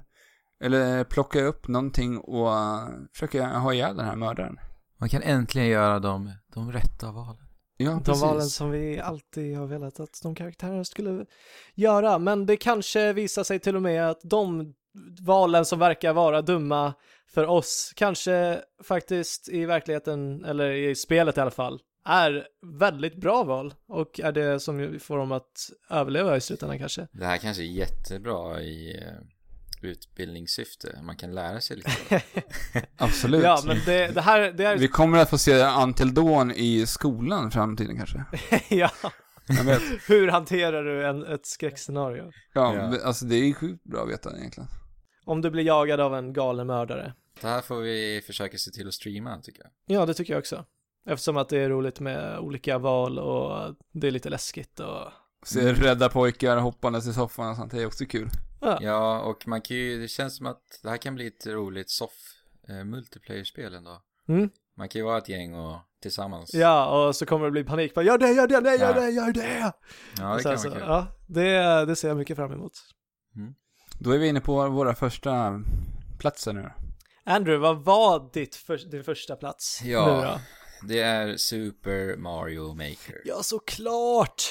C: eller plocka upp någonting och eh, försöka ha ihjäl den här mördaren.
B: Man kan äntligen göra de, de rätta valen.
C: Ja,
A: De
C: precis.
A: valen som vi alltid har velat att de karaktärerna skulle göra, men det kanske visar sig till och med att de valen som verkar vara dumma för oss kanske faktiskt i verkligheten, eller i spelet i alla fall, är väldigt bra val och är det som ju får dem att överleva i slutändan kanske.
B: Det här kanske är jättebra i eh, utbildningssyfte. Man kan lära sig lite.
C: Absolut.
A: Ja, men det, det här, det
C: Vi
A: är,
C: kommer att få se Until Dawn i skolan i framtiden kanske.
A: ja,
C: Jag vet.
A: hur hanterar du en, ett skräckscenario?
C: Ja,
B: Ja.
C: men alltså det är ju sjukt bra att veta egentligen.
A: Om du blir jagad av en galen mördare.
B: Det här får vi försöka se till att streama tycker jag.
A: Ja, det tycker jag också. Eftersom att det är roligt med olika val och det är lite läskigt och...
C: Se rädda pojkar hoppandes i soffan och sånt, det är också kul.
A: Ja,
B: Ja, och man kan ju, det känns som att det här kan bli ett roligt soff eh, multiplayer-spel ändå.
A: mm.
B: Man kan ju vara ett gäng och tillsammans.
A: ja och så kommer det bli panik. Bara, gör det, gör det, nej, gör
B: Ja.
A: det, gör det!
B: ja det
A: Och sen
B: kan
A: så,
B: vara kul.
A: ja, det, det ser jag mycket fram emot.
C: Då är vi inne på våra första platser nu.
A: Andrew, vad var ditt för, din första plats
B: Ja.
A: nu då?
B: Det är Super Mario Maker
A: Ja, såklart!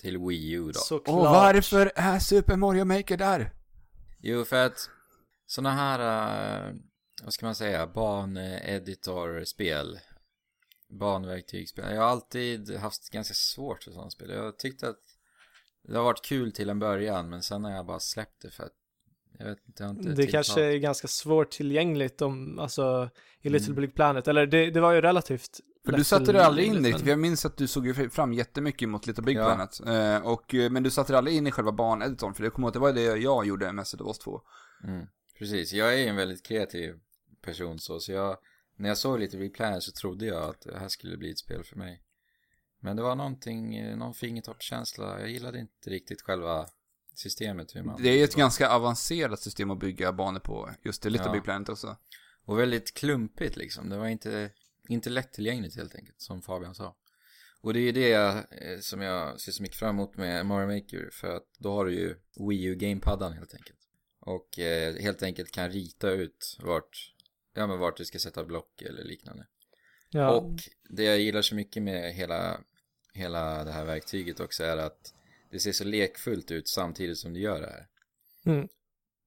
B: till Wii U då.
A: Såklart.
C: Och varför är Super Mario Maker där?
B: Jo, för att såna här, eh, vad ska man säga, baneditorspel, banverktygsspel. Jag har alltid haft ganska svårt för sådana spel. Jag tyckte att det har varit kul till en början, men sen har jag bara släppt det för att jag vet inte, jag har inte
A: Det
B: tilltalat.
A: kanske är ganska svårt tillgängligt om, alltså, i Little Big Planet. Eller det, det var ju relativt
C: För du
A: lätt
C: satte dig aldrig in
A: tillgängligt,
C: riktigt,
A: men-
C: för jag minns att du såg ju fram jättemycket mot Little Big
B: Ja.
C: Planet. Eh, och, eh, men du satte dig aldrig in i själva barneditorn, för det kommer ihåg att det var det jag gjorde mest av oss två.
B: Mm, precis, jag är ju en väldigt kreativ person så, så jag, när jag såg lite Replay så trodde jag att det här skulle bli ett spel för mig. Men det var någonting, eh, någon fingertoppskänsla, jag gillade inte riktigt själva systemet hur man...
C: Det är ju ett ganska avancerat system att bygga banor på, just det, Little
B: Ja.
C: Big Planet också.
B: Och väldigt klumpigt liksom, det var inte, inte lättillgängligt helt enkelt, som Fabian sa. Och det är ju det jag, eh, som jag ser så mycket fram emot med Mario Maker, för att då har du ju Wii U Gamepaddan helt enkelt. Och eh, helt enkelt kan rita ut vart, ja men vart du ska sätta block eller liknande.
A: Ja.
B: Och det jag gillar så mycket med hela, hela det här verktyget också är att det ser så lekfullt ut samtidigt som du gör det här.
A: Mm.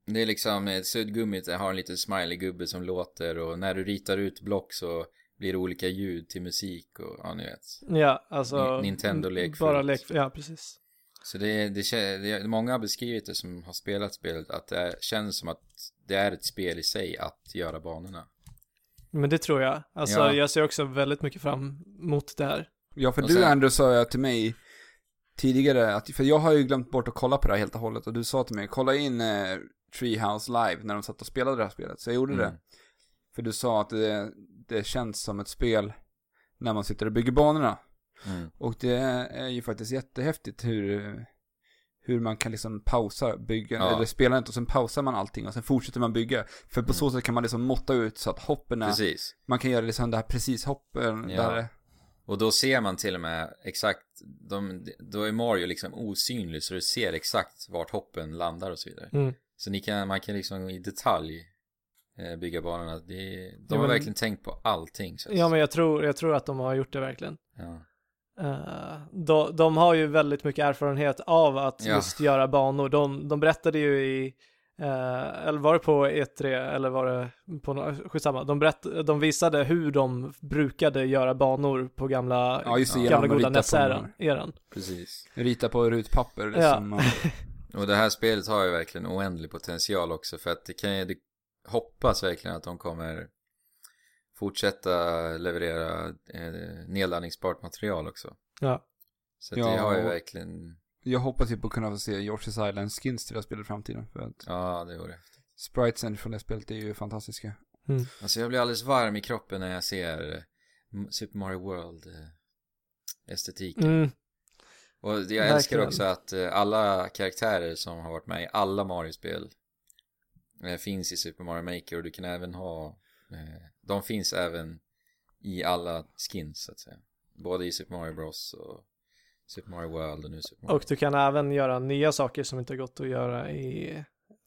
B: Det är liksom, eh, suddgummit har en liten smiley-gubbe som låter och när du ritar ut block så blir det olika ljud till musik och ja, ni vet.
A: Ja, alltså...
B: Ni- Nintendo lekfullt.
A: Bara lekfullt, ja precis.
B: Så det, det, kä- det, många har beskrivit det som har spelat spelet att det är, känns som att det är ett spel i sig att göra banorna.
A: Men det tror jag. Alltså
B: Ja.
A: jag ser också väldigt mycket fram emot det här.
C: Ja, för
B: Och
C: du
B: sen-
C: Andrew sa jag till mig tidigare, att, för jag har ju glömt bort att kolla på det här helt och hållet, och du sa till mig, kolla in eh, Treehouse live när de satt och spelade det här spelet, så jag gjorde
B: Mm.
C: det. För du sa att det, det känns som ett spel när man sitter och bygger banorna.
B: Mm.
C: Och det är ju faktiskt jättehäftigt hur, hur man kan liksom pausa byggen,
B: Ja.
C: eller spelandet, och sen pausar man allting och sen fortsätter man bygga. För på
B: Mm.
C: så sätt kan man liksom måtta ut så att hoppen är,
B: Precis.
C: man kan göra liksom det här precis hoppen
B: Ja.
C: där.
B: Och då ser man till och med exakt, de, då är Mario liksom osynlig så du ser exakt vart hoppen landar och så vidare.
A: Mm.
B: Så ni kan, man kan liksom i detalj eh, bygga banorna. Det, de
A: Ja,
B: har
A: men-
B: verkligen tänkt på allting. känns
A: Ja, men jag tror, jag tror att de har gjort det verkligen.
B: ja.
A: Eh, de, de har ju väldigt mycket erfarenhet av att
B: Ja.
A: just göra banor. De, de berättade ju i, eh, eller var det på E3 eller var det på något, skitsamma, de, berätt, de visade hur de brukade göra banor på gamla,
C: Ja, just det, genom
A: gamla
C: att
A: goda
C: rita på
A: NES-eran.
C: banor.
A: eran.
B: Precis.
C: Rita på rutpapper liksom.
A: Ja.
C: Och,
B: Och det här spelet har ju verkligen oändlig potential också för att det kan ju, det hoppas verkligen att de kommer fortsätta leverera eh, nedladdningsbart material också.
A: Ja.
B: Så att det
C: Ja,
B: har ju
C: och-
B: verkligen,
C: Jag hoppas ju på att kunna få se Yoshi's Island skins till det här spelet i framtiden. För att
B: ja det vore
C: spritesen från det här spelet är ju fantastiska.
B: Alltså jag blir alldeles varm i kroppen när jag ser eh, M- Super Mario World eh, estetiken.
A: Mm,
B: Och jag
A: verkligen.
B: älskar också att eh, alla karaktärer som har varit med i alla Mario-spel eh, finns i Super Mario Maker och du kan även ha, eh, de finns även i alla skins så att säga. Både i Super Mario Bros och Super Mario World och nu Super Mario.
A: och du kan även göra nya saker som inte har gått att göra i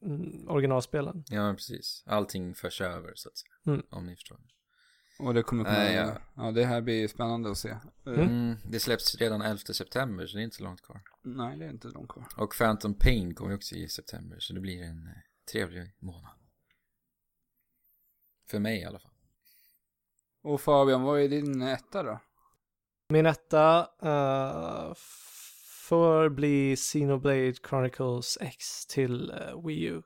A: mm, originalspelen.
B: Ja men precis, allting förs över så att säga.
A: Mm.
B: Om ni förstår.
C: Och det kommer kunna...
B: Nej,
C: ja.
B: Eh, ja.
C: det här blir ju spännande att se.
A: Mm.
B: Mm, det släpps redan 11 september så det är inte så långt kvar.
C: Nej, det är inte långt kvar.
B: Och Phantom Pain kommer ju också i september, så det blir en eh, trevlig månad. För mig i alla fall.
C: Och Fabian, vad är din etta då?
A: Min etta eh, får bli Xenoblade Chronicles X till eh, Wii U.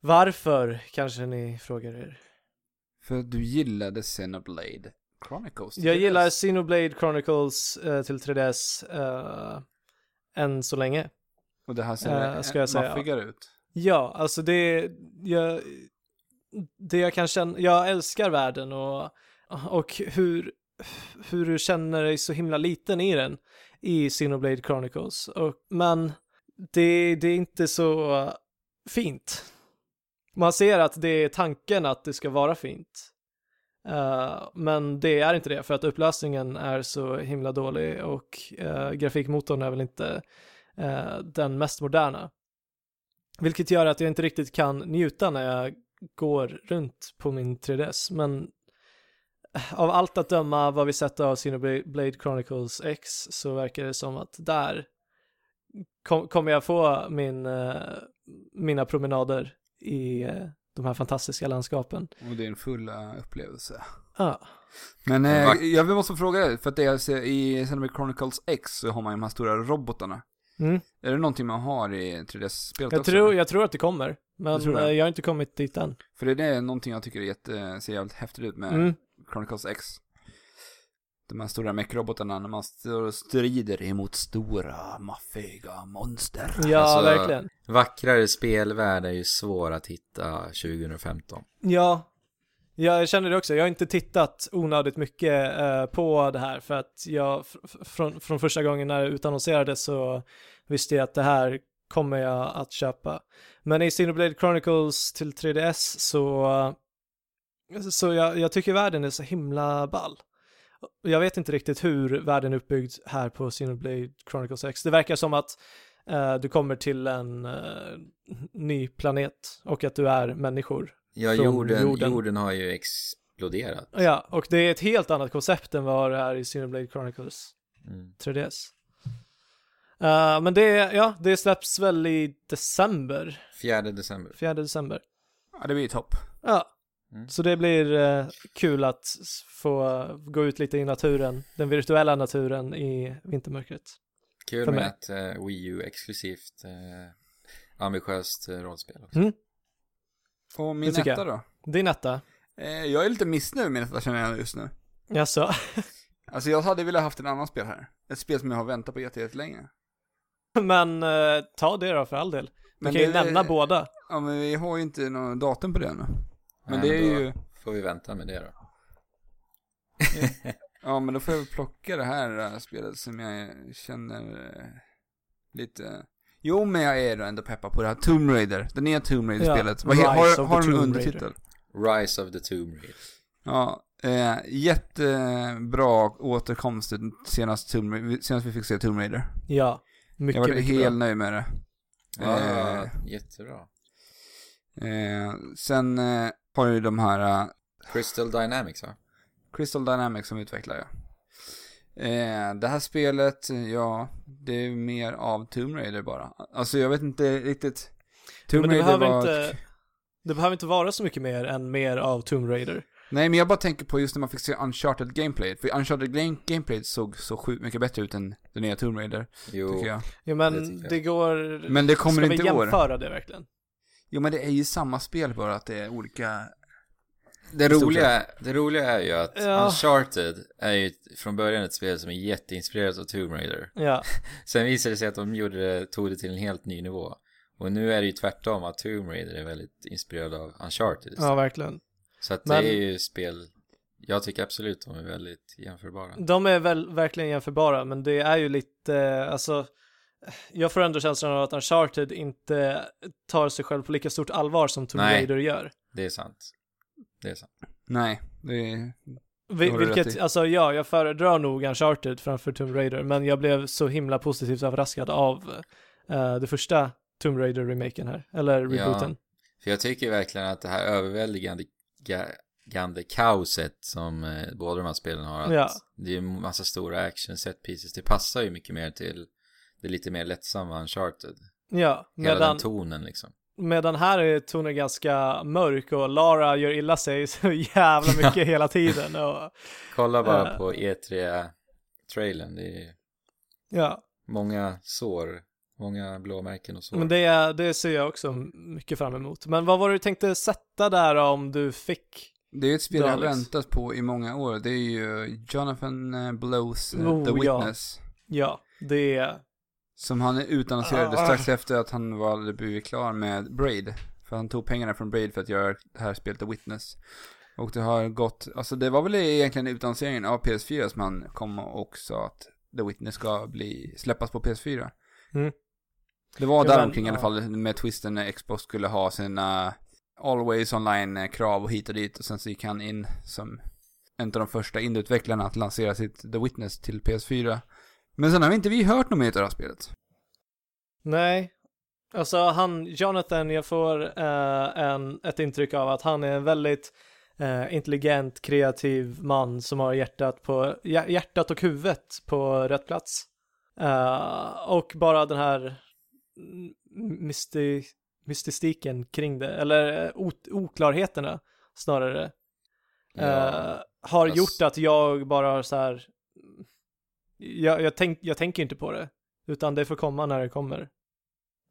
A: Varför, kanske ni frågar er.
C: För att du gillade Xenoblade Chronicles.
A: Jag gillar Xenoblade Chronicles eh, till 3DS eh, än så länge.
C: Och det här ser
A: Eh,
C: uh,
A: ska jag säga.
C: maffigare ut.
A: Ja, alltså det jag, det jag kan känna, jag älskar världen och, och hur, hur du känner dig så himla liten i den i Xenoblade Chronicles. Och, men det, det är inte så fint. Man ser att det är tanken att det ska vara fint. Eh, men det är inte det för att upplösningen är så himla dålig och eh, grafikmotorn är väl inte eh, den mest moderna. Vilket gör att jag inte riktigt kan njuta när jag går runt på min 3DS. Men eh, av allt att döma vad vi sett av Xenoblade Chronicles X så verkar det som att där kom, kommer jag få min, eh, mina promenader i eh, de här fantastiska landskapen.
C: Och det är en full eh, upplevelse.
A: Ja,
C: Men eh,
B: Vack-
C: jag vill måste fråga dig, för att det jag ser i Xenoblade Chronicles X så har man ju de här stora robotarna.
A: Mm.
C: Är det någonting man har i 3DS-spelet
A: Jag,
C: också?
A: tror, jag tror att det kommer, men
C: Du tror det?
A: eh, jag har inte kommit dit än.
C: För det är någonting jag tycker är jätte, eh, ser jävligt häftigt ut med
A: Mm.
C: Chronicles X. De här stora mech-robotarna när man står och strider emot stora, maffiga monster.
A: Ja,
B: Alltså-
A: verkligen.
B: Vackrare spelvärld är ju svår att hitta 2015.
A: Ja, jag känner det också. Jag har inte tittat onödigt mycket eh, på det här för att jag fr- fr- från, från första gången när det utannonserades så visste jag att det här kommer jag att köpa. Men i Xenoblade Chronicles till 3DS så, så jag, jag tycker världen är så himla ball. Och Jag vet inte riktigt hur världen är uppbyggd här på Xenoblade Chronicles X. Det verkar som att eh, du kommer till en eh, ny planet och att du är människor
B: Ja,
A: Från
B: jorden,
A: jorden.
B: jorden har ju ex, exploderat.
A: Ja, och det är ett helt annat koncept än vad det här i Xenoblade Chronicles
B: Mm.
A: 3DS. Eh, men det, ja, det släpps väl i december,
B: 4 december.
A: 4 december.
C: Ja, det blir ju topp.
A: Ja,
B: Mm.
A: så det blir eh, kul att s- få gå ut lite i naturen, den virtuella naturen i vintermörkret.
B: Kul
A: För
B: med
A: mig.
B: ett eh, Wii U-exklusivt eh, ambitiöst eh, rollspel. också.
A: Mm.
C: Och min
A: Det tycker
C: etta då?
A: Din etta,
C: Eh, jag är lite missnöjd med min etta känner jag just nu.
A: jaså?
C: Alltså jag hade velat haft en annan spel här. Ett spel som jag har väntat på jätte- jättelänge.
A: Men eh, ta det då för all del. Du
C: Men
A: kan ju
C: det-
A: nämna båda.
C: Ja, men vi har ju inte någon datum på det ännu. Men
B: Men
C: det är
B: då-
C: ju...
B: Får vi vänta med det då.
C: Ja, men då får jag väl plocka det här eh, spelet som jag känner eh, lite... Jo, men jag är då ändå peppad på det här Tomb Raider. Det nya Tomb Raider-spelet.
A: Ja,
C: Vad he-
A: Rise
C: har
A: of
C: har
A: the
C: en
A: Tomb
C: undertitel?
A: Raider.
B: Rise of the Tomb Raider.
C: Ja, eh, jättebra återkomst till senast, Tomb Ra- senast vi fick se Tomb Raider.
A: Ja,
C: Jag
A: mycket,
C: var
A: mycket
C: helt
A: bra.
C: nöjd med det.
B: Ja,
C: Eh,
B: jättebra.
C: eh, sen eh, har ju de här eh,
B: Crystal Dynamics va?
C: Crystal Dynamics som utvecklar det. Eh, det här spelet, ja, det är mer av Tomb Raider bara. Alltså jag vet inte riktigt. Tomb
A: Men det
C: Raider
A: behöver,
C: var...
A: inte, det behöver inte vara så mycket mer än mer av Tomb Raider.
C: Nej, men jag bara tänker på just när man fick se Uncharted Gameplay. För Uncharted game Gameplay såg så sjukt mycket bättre ut än den nya Tomb Raider,
B: Jo,
C: tycker jag.
A: Ja,
B: Det
A: men
B: tycker
A: det,
B: jag.
A: går...
C: Men det kommer
A: Ska
C: inte
A: vi
C: i år.
A: jämföra det verkligen?
C: Jo, men det är ju samma spel bara att det är olika...
B: Det
C: stort
B: roliga, det roliga är ju att
A: Ja.
B: Uncharted är ju ett- från början ett spel som är jätteinspirerat av Tomb Raider.
A: Ja,
B: Sen visade det sig att de gjorde det, tog det till en helt ny nivå. Och nu är det ju tvärtom att Tomb Raider är väldigt inspirerad av Uncharted.
A: ja verkligen.
B: Så att
A: Men-
B: det är ju spel, jag tycker absolut de är väldigt jämförbara.
A: De är väl verkligen jämförbara, men det är ju lite, eh, alltså, jag får ändå känslan av att Uncharted inte tar sig själv på lika stort allvar som Tomb
B: Nej.
A: Raider gör.
B: Det är sant. Det är sant.
C: Nej, det är...
A: Vi,
C: har du rätt
A: vilket,
C: i.
A: alltså ja, jag föredrar nog Uncharted framför Tomb Raider, men jag blev så himla positivt överraskad av eh, det första Tomb Raider-remaken här, eller
B: Ja.
A: rebooten.
B: För jag tycker verkligen att det här överväldigande ga- gande kaoset som eh, båda de här spelen har, att
A: Ja.
B: det är ju en massa stora action set pieces, det passar ju mycket mer till det lite mer lättsamma Uncharted.
A: Ja,
B: Hela
A: medan,
B: den tonen liksom.
A: medan här är tonen ganska mörk och Lara gör illa sig så jävla mycket hela tiden. Och,
B: Kolla bara
A: Eh.
B: på E3-trailern, det är
A: ja.
B: många sår, många blåmärken och sår.
A: Men det, är- det ser jag också mycket fram emot. Men vad var det du tänkte sätta där om du fick?
C: Det är ett spel jag har
A: Daleks.
C: väntat på i många år. Det är ju Jonathan eh, Blows eh,
A: Oh,
C: The
A: ja.
C: Witness.
A: Ja, det är...
C: Som han utannonserade
A: Ah.
C: strax efter att han var blivit klar med Braid. För han tog pengarna från Braid för att göra det här spelet The Witness. Och det har gått, alltså det var väl egentligen utannonseringen av PS4 som han kom och sa att The Witness ska bli, släppas på PS4.
A: Mm.
C: Det var
A: Ja,
C: där
A: men,
C: omkring i alla
A: ja.
C: fall med twisten när Xbox skulle ha sina Always Online-krav och hit och dit och sen så gick han in som en av de första indieutvecklarna att lansera sitt The Witness till PS4. Men sen har inte vi hört något mer av det här spelet.
A: Nej. Alltså han, Jonathan, jag får eh, en, ett intryck av att han är en väldigt eh, intelligent, kreativ man som har hjärtat, på, hjär- hjärtat och huvudet på rätt plats. Eh, och bara den här mm, mysti, mystistiken kring det, eller eh, o, oklarheterna snarare, eh,
B: Ja.
A: har
B: fast-
A: gjort att jag bara har så här, jag, jag, tänk, jag tänker inte på det, utan det får komma när det kommer.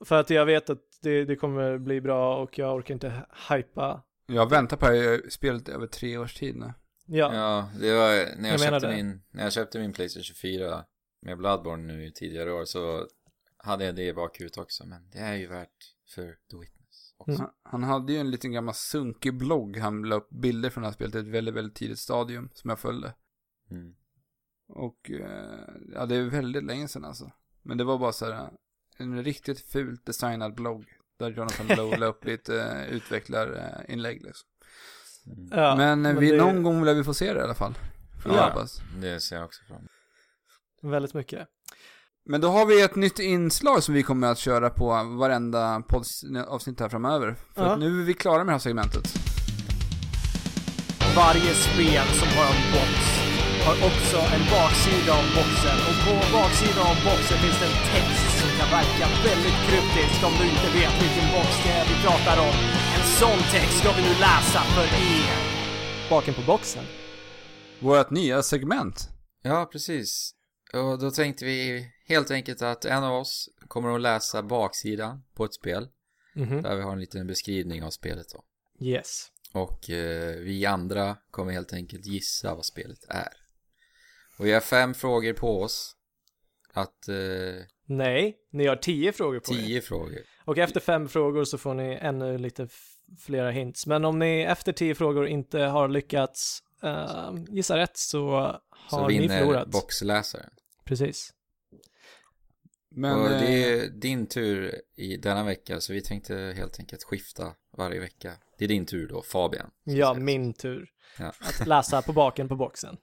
A: För att jag vet att det, det kommer bli bra och jag orkar inte hypa.
C: Jag väntar på det här spelet över tre års tid nu.
A: Ja,
B: Ja, det var när
A: Jag menar
B: jag, köpte
A: det.
B: min, när jag köpte min Playstation 4 med Bloodborne nu i tidigare år så hade jag det i bakhuvudet också, men det är ju värt för The Witness också.
A: Mm.
C: Han- Han hade ju en liten gammal sunkig blogg. Han la upp bilder från det här spelet i ett väldigt, väldigt tidigt stadium som jag följde.
B: Mm.
C: Och eh, ja, det är väldigt länge sedan alltså. Men det var bara så här en riktigt fult designad blogg. Där Jonathan Blow la upp lite eh, utvecklarinlägg liksom.
A: ja,
C: men eh, vi,
A: det är
C: någon gång lär vi få se det i alla fall. Får vi
A: Ja.
C: hoppas.
B: Mm. Det ser jag också fram emot.
A: Väldigt mycket.
C: Men då har vi ett nytt inslag som vi kommer att köra på varenda poddavsnitt här framöver. För
A: Ja.
C: att nu är vi klara med det här segmentet.
E: varje spel som har en box har också en baksida av boxen och på baksidan av boxen finns det en text som kan verka väldigt kryptisk om du inte vet vilken box det är vi pratar om. En sån text ska vi nu läsa för er. Baken på boxen.
C: Vårt nya segment.
B: Ja, precis. Och då tänkte vi helt enkelt att en av oss kommer att läsa baksidan på ett spel.
A: Mhm.
B: Där vi har en liten beskrivning av spelet då.
A: Yes.
B: Och eh, vi andra kommer helt enkelt gissa vad spelet är. Och vi har fem frågor på oss. Att... Eh,
A: Nej, ni har tio frågor på er.
B: tio frågor.
A: Och efter fem frågor så får ni ännu lite f- flera hints. Men om ni efter tio frågor inte har lyckats eh, gissa rätt så
B: Så
A: har ni
B: vinner
A: förlorat.
B: boxläsaren.
A: Precis.
C: Men
B: och det
C: eh,
B: är din tur i denna vecka. Så vi tänkte helt enkelt skifta varje vecka. Det är din tur då, Fabian. ska
A: Ja,
B: sägas.
A: min tur.
B: Ja.
A: Att läsa på baken på boxen.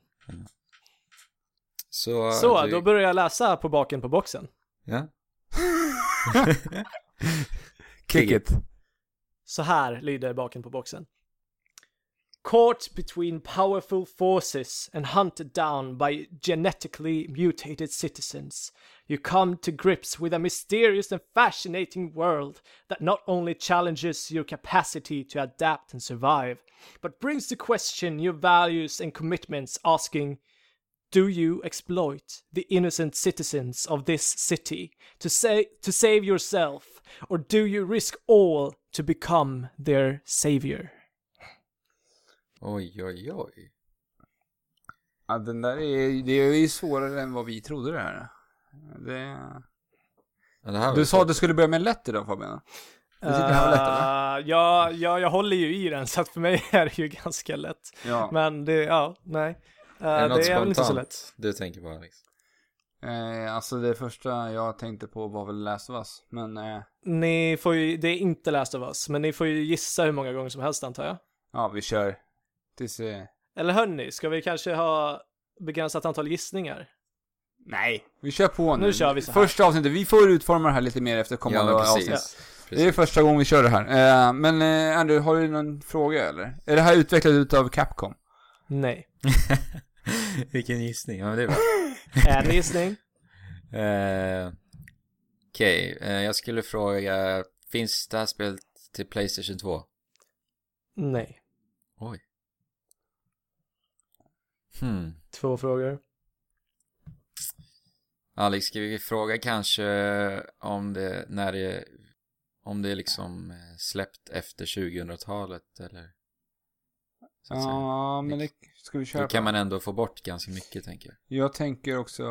B: Så,
A: Så,
B: du-
A: då börjar jag läsa på baken på boxen.
B: Ja.
C: kick it.
A: Så här lyder baken på boxen. Caught between powerful forces and hunted down by genetically mutated citizens, you come to grips with a mysterious and fascinating world that not only challenges your capacity to adapt and survive, but brings to question your values and commitments, asking, do you exploit the innocent citizens of this city to say to save yourself or do you risk all to become their savior?
B: Oj, oj, oj.
C: Ja, den där är, det är ju svårare än vad vi trodde det här. Det...
B: Ja, det här var
C: Du
B: ju
C: sa att
B: svårt.
C: du skulle börja med lätt idag Fabian. Du tyckte det här var lätt eller?
A: Eh, ja, ja, jag håller ju i den så att för mig är det ju ganska lätt.
C: Ja.
A: Men det, ja, nej. Eh,
B: Är det,
A: det är väl inte så lätt.
B: spontant du tänker liksom. på Alex?
C: Eh, alltså det första jag tänkte på var väl Last of Us, men eh,
A: Ni får ju, det är inte läst av oss, men ni får ju gissa hur många gånger som helst antar jag.
C: ja vi kör. Tills, eh,
A: Eller hörni, ska vi kanske ha begränsat antal gissningar?
C: nej, vi kör på nu.
A: Nu kör vi så här.
C: Första avsnittet, vi får utforma det här lite mer efter kommande
B: Ja, precis.
C: avsnitt. Det är
B: precis.
C: första gången vi kör det här. Eh, men eh, Andrew, har du någon fråga eller? Är det här utvecklat utav Capcom?
A: Nej.
B: Vilken gissning, ja men det är bra.
A: En gissning?
B: Eh, Okej, eh, jag skulle fråga, finns det här spelet till Playstation 2?
A: Nej.
B: Oj. Hmm.
A: Två frågor.
B: Alex, ska vi fråga kanske om det, när det, om det är liksom eh, släppt efter 2000-talet eller? Så att säga.
C: Ja, men det ska vi köra
B: Då
C: på.
B: Alltså, kan man ändå få bort ganska mycket tänker jag.
C: Jag tänker också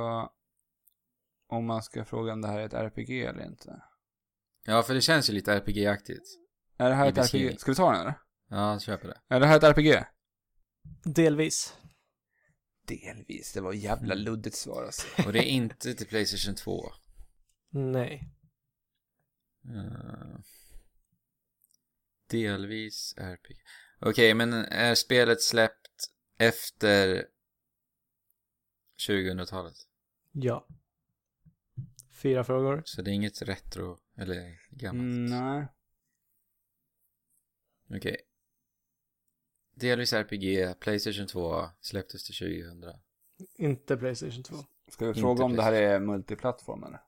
C: om man ska fråga om det här är ett RPG eller inte.
B: Ja, för det känns ju lite RPG-aktigt.
C: Är det här
B: I
C: ett RPG?
B: beskrivning.
C: Ska vi ta den eller?
B: Ja, kör på det.
C: Är det här ett RPG?
A: Delvis.
C: Delvis, det var jävla luddigt svar alltså.
B: Och det är inte till Playstation 2.
A: Nej.
B: Eh, delvis RPG. Okej, men är spelet släppt efter 2000-talet?
A: Ja. Fyra frågor.
B: Så det är inget retro eller gammalt?
C: Mm, nej.
B: Okej. Delvis RPG, Playstation 2 släpptes till 2000.
A: Inte Playstation 2.
C: Ska vi
B: Inte
C: fråga om det här är multiplattform eller?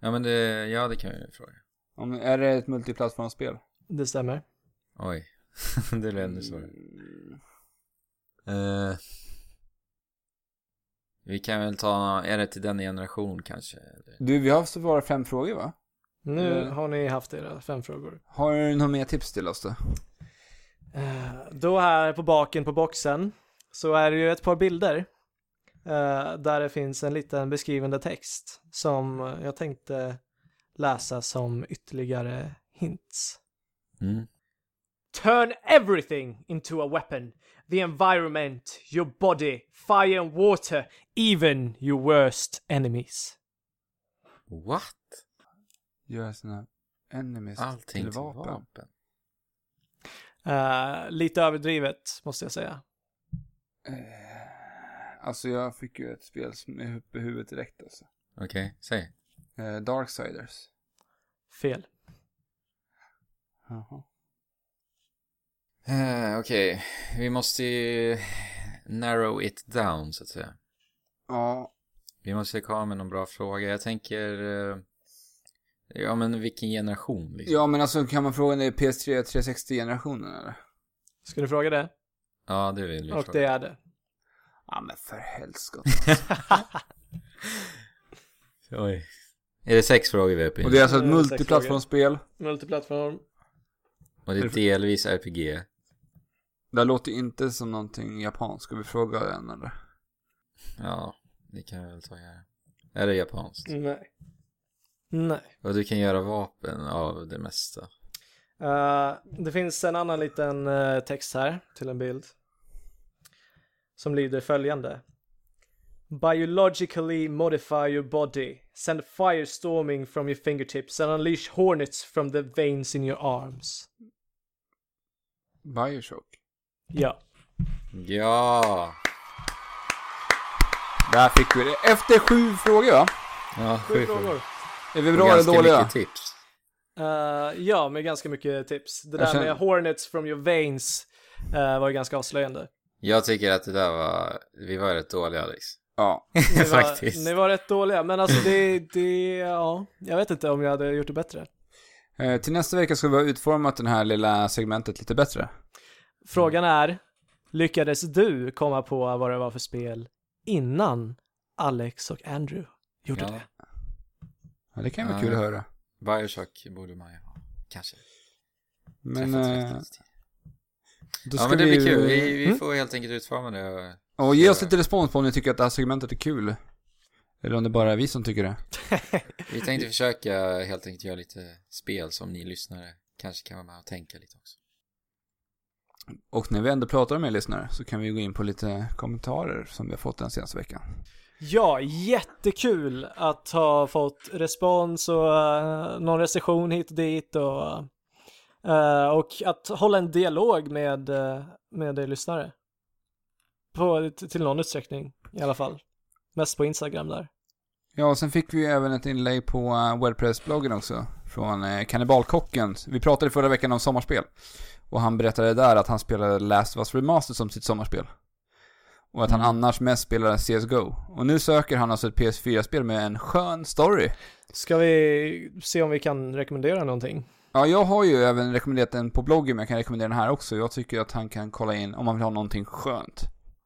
B: Ja, men det, ja, det kan jag ju fråga.
C: Om, är det ett multiplattformsspel?
A: Det stämmer.
B: Oj, det blev
C: Mm.
B: ännu svårare. Eh, vi kan väl ta, är det till den generation kanske? Eller?
C: Du, vi har svarat fem frågor va?
A: Nu
C: Mm.
A: har ni haft era fem frågor.
C: Har du några mer tips till oss då?
A: Eh, Då här på baken på boxen så är det ju ett par bilder eh, där det finns en liten beskrivande text som jag tänkte läsa som ytterligare hints.
B: Mm.
A: Turn everything into a weapon. The environment, your body, fire and water, even your worst enemies.
B: What?
C: Göra sina enemies
B: Allting
C: till vapen.
A: Eh, lite överdrivet, måste jag säga.
C: Alltså jag fick ju ett spel som är uppe i huvudet direkt alltså.
B: Okej, säg.
C: Eh, Darksiders.
A: Fel.
C: Jaha.
B: Eh, Okej, vi måste ju narrow it down så att säga.
C: Ja.
B: Vi måste komma med någon bra fråga. Jag tänker... eh, Ja men vilken generation liksom?
C: Ja, men alltså kan man fråga om det är PS3 360-generationen eller?
A: Ska du fråga det?
B: Ja, det vill vi
A: Och
B: fråga.
A: det är det.
C: Ja, men för helskotta.
B: Oj. Är det sex frågor vi är uppe i?
C: Och det är alltså
A: Det
C: ett
A: är sex
C: multiplattformsspel.
A: Multiplattform.
B: Och det är delvis RPG.
C: Det här låter inte som någonting japanskt. Ska vi fråga den eller?
B: Ja, det kan vi väl ta här. Är det japanskt?
C: Mm.
A: Nej. Nej.
B: Och du kan göra vapen av det mesta.
A: Eh, det finns en annan liten eh, text här till en bild. Som lyder följande. Biologically modify your body. Send firestorming from your fingertips and unleash hornets from the veins in your arms.
C: Bioshock.
A: Ja.
B: Ja!
C: Där fick vi det. Efter sju frågor va?
B: Ja, sju frågor.
C: Är vi
B: Och
C: bra eller
B: ganska
C: dåliga?
B: mycket tips.
A: Eh, ja, med ganska mycket tips. Det
C: Jag
A: där
C: känner-
A: med hornets from your veins eh, var ju ganska avslöjande.
B: Jag tycker att det där var... Vi var rätt dåliga Alex.
C: Ja.
A: Ni var,
B: Faktiskt.
A: Ni var rätt dåliga, men alltså det, det, ja. Jag vet inte om jag hade gjort det bättre.
C: Eh, till nästa vecka ska vi ha utformat det här lilla segmentet lite bättre.
A: Frågan är, lyckades du komma på vad det var för spel innan Alex och Andrew gjorde
B: Ja.
A: det?
C: Ja, det kan vara
B: Ja.
C: kul att höra.
B: Bioshock borde man ju ha. Kanske.
C: Men
B: Träffat
C: eh,
B: riktigt.
C: då ska
B: Ja men det blir
C: vi, Mm.
B: kul. Vi, vi får helt enkelt utforma det. och-
C: Och ge oss lite respons på om ni tycker att det här segmentet är kul. Eller om det bara är vi som tycker det.
B: Vi tänkte försöka helt enkelt göra lite spel som ni lyssnare kanske kan vara med och tänka lite också.
C: Och när vi ändå pratar med er lyssnare så kan vi gå in på lite kommentarer som vi har fått den senaste veckan.
A: Ja, jättekul att ha fått respons och eh, någon recension hit och dit och, eh, och att hålla en dialog med, eh, med er lyssnare. På, till någon utsträckning i alla fall. Mest på Instagram där.
C: Ja, och sen fick vi ju även ett inlägg på eh, Wordpress-bloggen också. Från eh, Kannibalkocken. Vi pratade förra veckan om sommarspel. Och han berättade där att han spelade Last of Us Remastered som sitt sommarspel. Och att han annars mest spelade CSGO. Och nu söker han alltså ett PS4-spel med en skön story.
A: Ska vi se om vi kan rekommendera någonting?
C: Ja, jag har ju även rekommenderat den på bloggen, men jag kan rekommendera den här också. Jag tycker att han kan kolla in om man vill ha någonting skönt.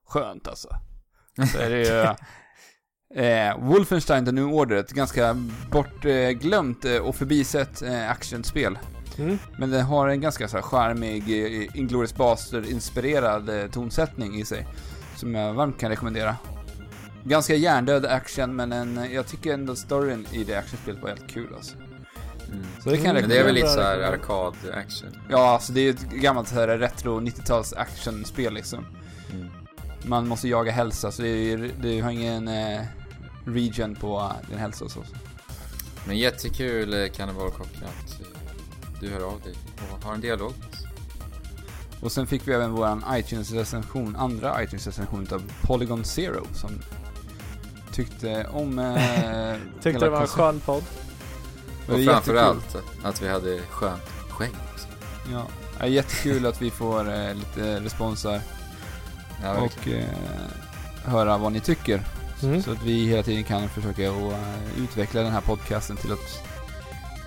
C: Skönt alltså. Så är det ju... Eh, Wolfenstein The New Order, ett ganska bortglömt eh, och förbisett eh, actionspel.
A: Mm.
C: Men det har en ganska så här, charmig, eh, Inglourious Basterds-inspirerad eh, tonsättning i sig. Som jag varmt kan rekommendera. Ganska hjärndöd action, men en, eh, jag tycker ändå storyn i det actionspelet var helt kul alltså.
B: Mm.
C: Så det kan jag
A: Mm,
B: Men det är
C: rekommendera.
B: väl lite så här arkad-action.
C: Ja, alltså det är ju ett gammalt så här retro 90-tals actionspel liksom.
B: Mm.
C: Man måste jaga hälsa, så det, är, ju- det har ingen eh, region på eh, din hälsa och så.
B: Men jättekul eh, Kannibalkocken att eh, du hör av dig och har en dialog.
C: Och sen fick vi även våran iTunes-recension, andra iTunes-recension utav Polygon Zero som tyckte om... Eh, hela
A: Tyckte det var en
C: koncept-
A: skön podd.
C: Det var
B: Och
C: jättekul.
B: framförallt att vi hade skönt skägg. också.
C: Ja, det är jättekul att vi får eh, lite respons här
B: Ja, verkligen.
C: och eh, höra vad ni tycker.
A: Mm.
C: Så att vi hela tiden kan försöka att eh, utveckla den här podcasten till att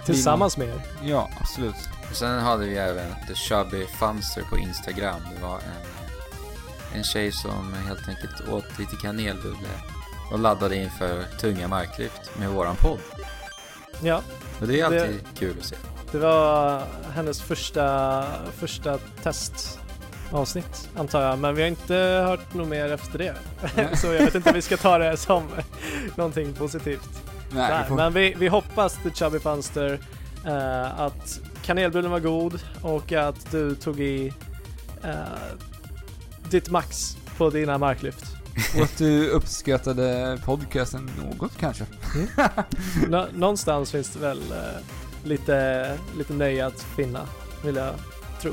A: Tillsammans med er.
C: Ja, absolut.
B: Och sen hade vi även The Chubby Funster på Instagram. Det var en, en tjej som helt enkelt åt lite kanelbulle och laddade inför tunga marklyft med våran podd.
A: Ja,
B: Och det är
A: Det-
B: alltid kul att se.
A: det var hennes första, första testavsnitt antar jag. Men vi har inte hört något mer efter det. Så jag vet inte om vi ska ta det som någonting positivt.
C: Nej,
A: Nej,
C: vi får...
A: Men vi, vi hoppas The Chubby Funster eh, att kanelbullen var god och att du tog i eh, ditt max på dina marklyft.
C: Och att du uppskattade podcasten något kanske.
A: Nå- någonstans finns det väl eh, lite, lite nöje att finna, vill jag tro.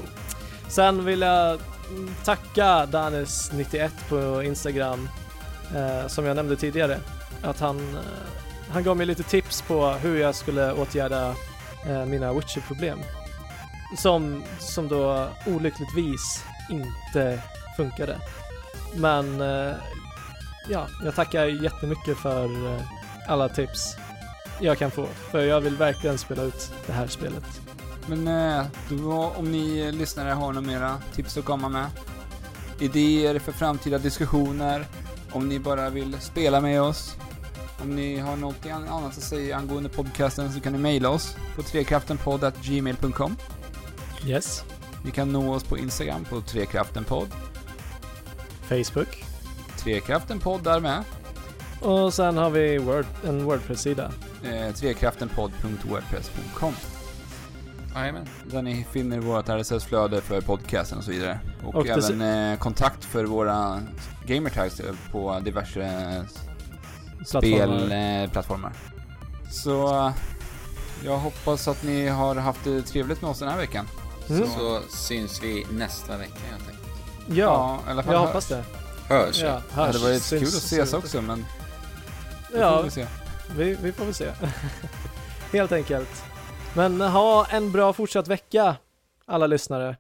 A: Sen vill jag mm, tacka Danes91 på Instagram, eh, som jag nämnde tidigare, att han, eh, han gav mig lite tips på hur jag skulle åtgärda eh, mina Witcher-problem. Som, som då olyckligtvis inte funkade. Men eh, ja, jag tackar jättemycket för eh, alla tips jag kan få. För jag vill verkligen spela ut det här spelet.
C: Men eh, då, om ni lyssnare har några mera tips att komma med, idéer för framtida diskussioner, om ni bara vill spela med oss, om ni har något an- annat att säga angående podcasten så kan ni mejla oss på trekraftenpodd.gmail.com.
A: Yes.
C: Ni kan nå oss på Instagram på trekraftenpodd,
A: Facebook.
C: trekraftenpodd där med,
A: Och sen har vi Word, en Wordpress-sida.
C: eh, trekraftenpodd.wordpress.com.
B: Jajamän.
C: Där ni finner vårt RSS-flöde för podcasten och så vidare. Och,
A: Och dess-
C: även eh, kontakt för våra gamertags eh, på diverse eh,
A: Plattformar.
C: spelplattformar. Så eh, jag hoppas att ni har haft det trevligt med oss den här veckan.
A: Mm.
B: Så syns vi nästa vecka helt enkelt.
A: Ja,
C: i alla fall
A: jag
C: hörs.
A: hoppas det.
B: Hörs!
A: Ja,
C: Det
A: hörs.
C: hade varit
A: Syns-
C: kul att ses
A: syns.
C: också men det får
A: Ja,
C: vi se.
A: vi, vi får väl se. Helt enkelt. Men ha en bra fortsatt vecka, alla lyssnare.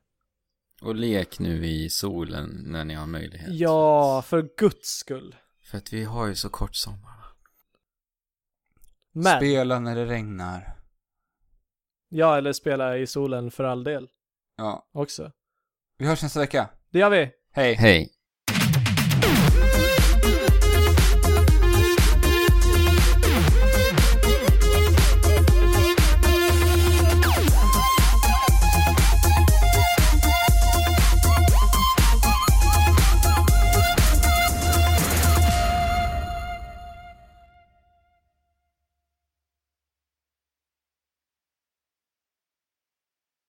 B: Och lek nu i solen när ni har möjlighet.
A: Ja, för guds skull.
B: För att vi har ju så kort sommar.
A: Men,
C: Spela när det regnar.
A: ja eller spela i solen för all del
C: Ja,
A: också.
C: vi hörs nästa vecka.
A: Det gör vi.
C: Hej!
B: Hej!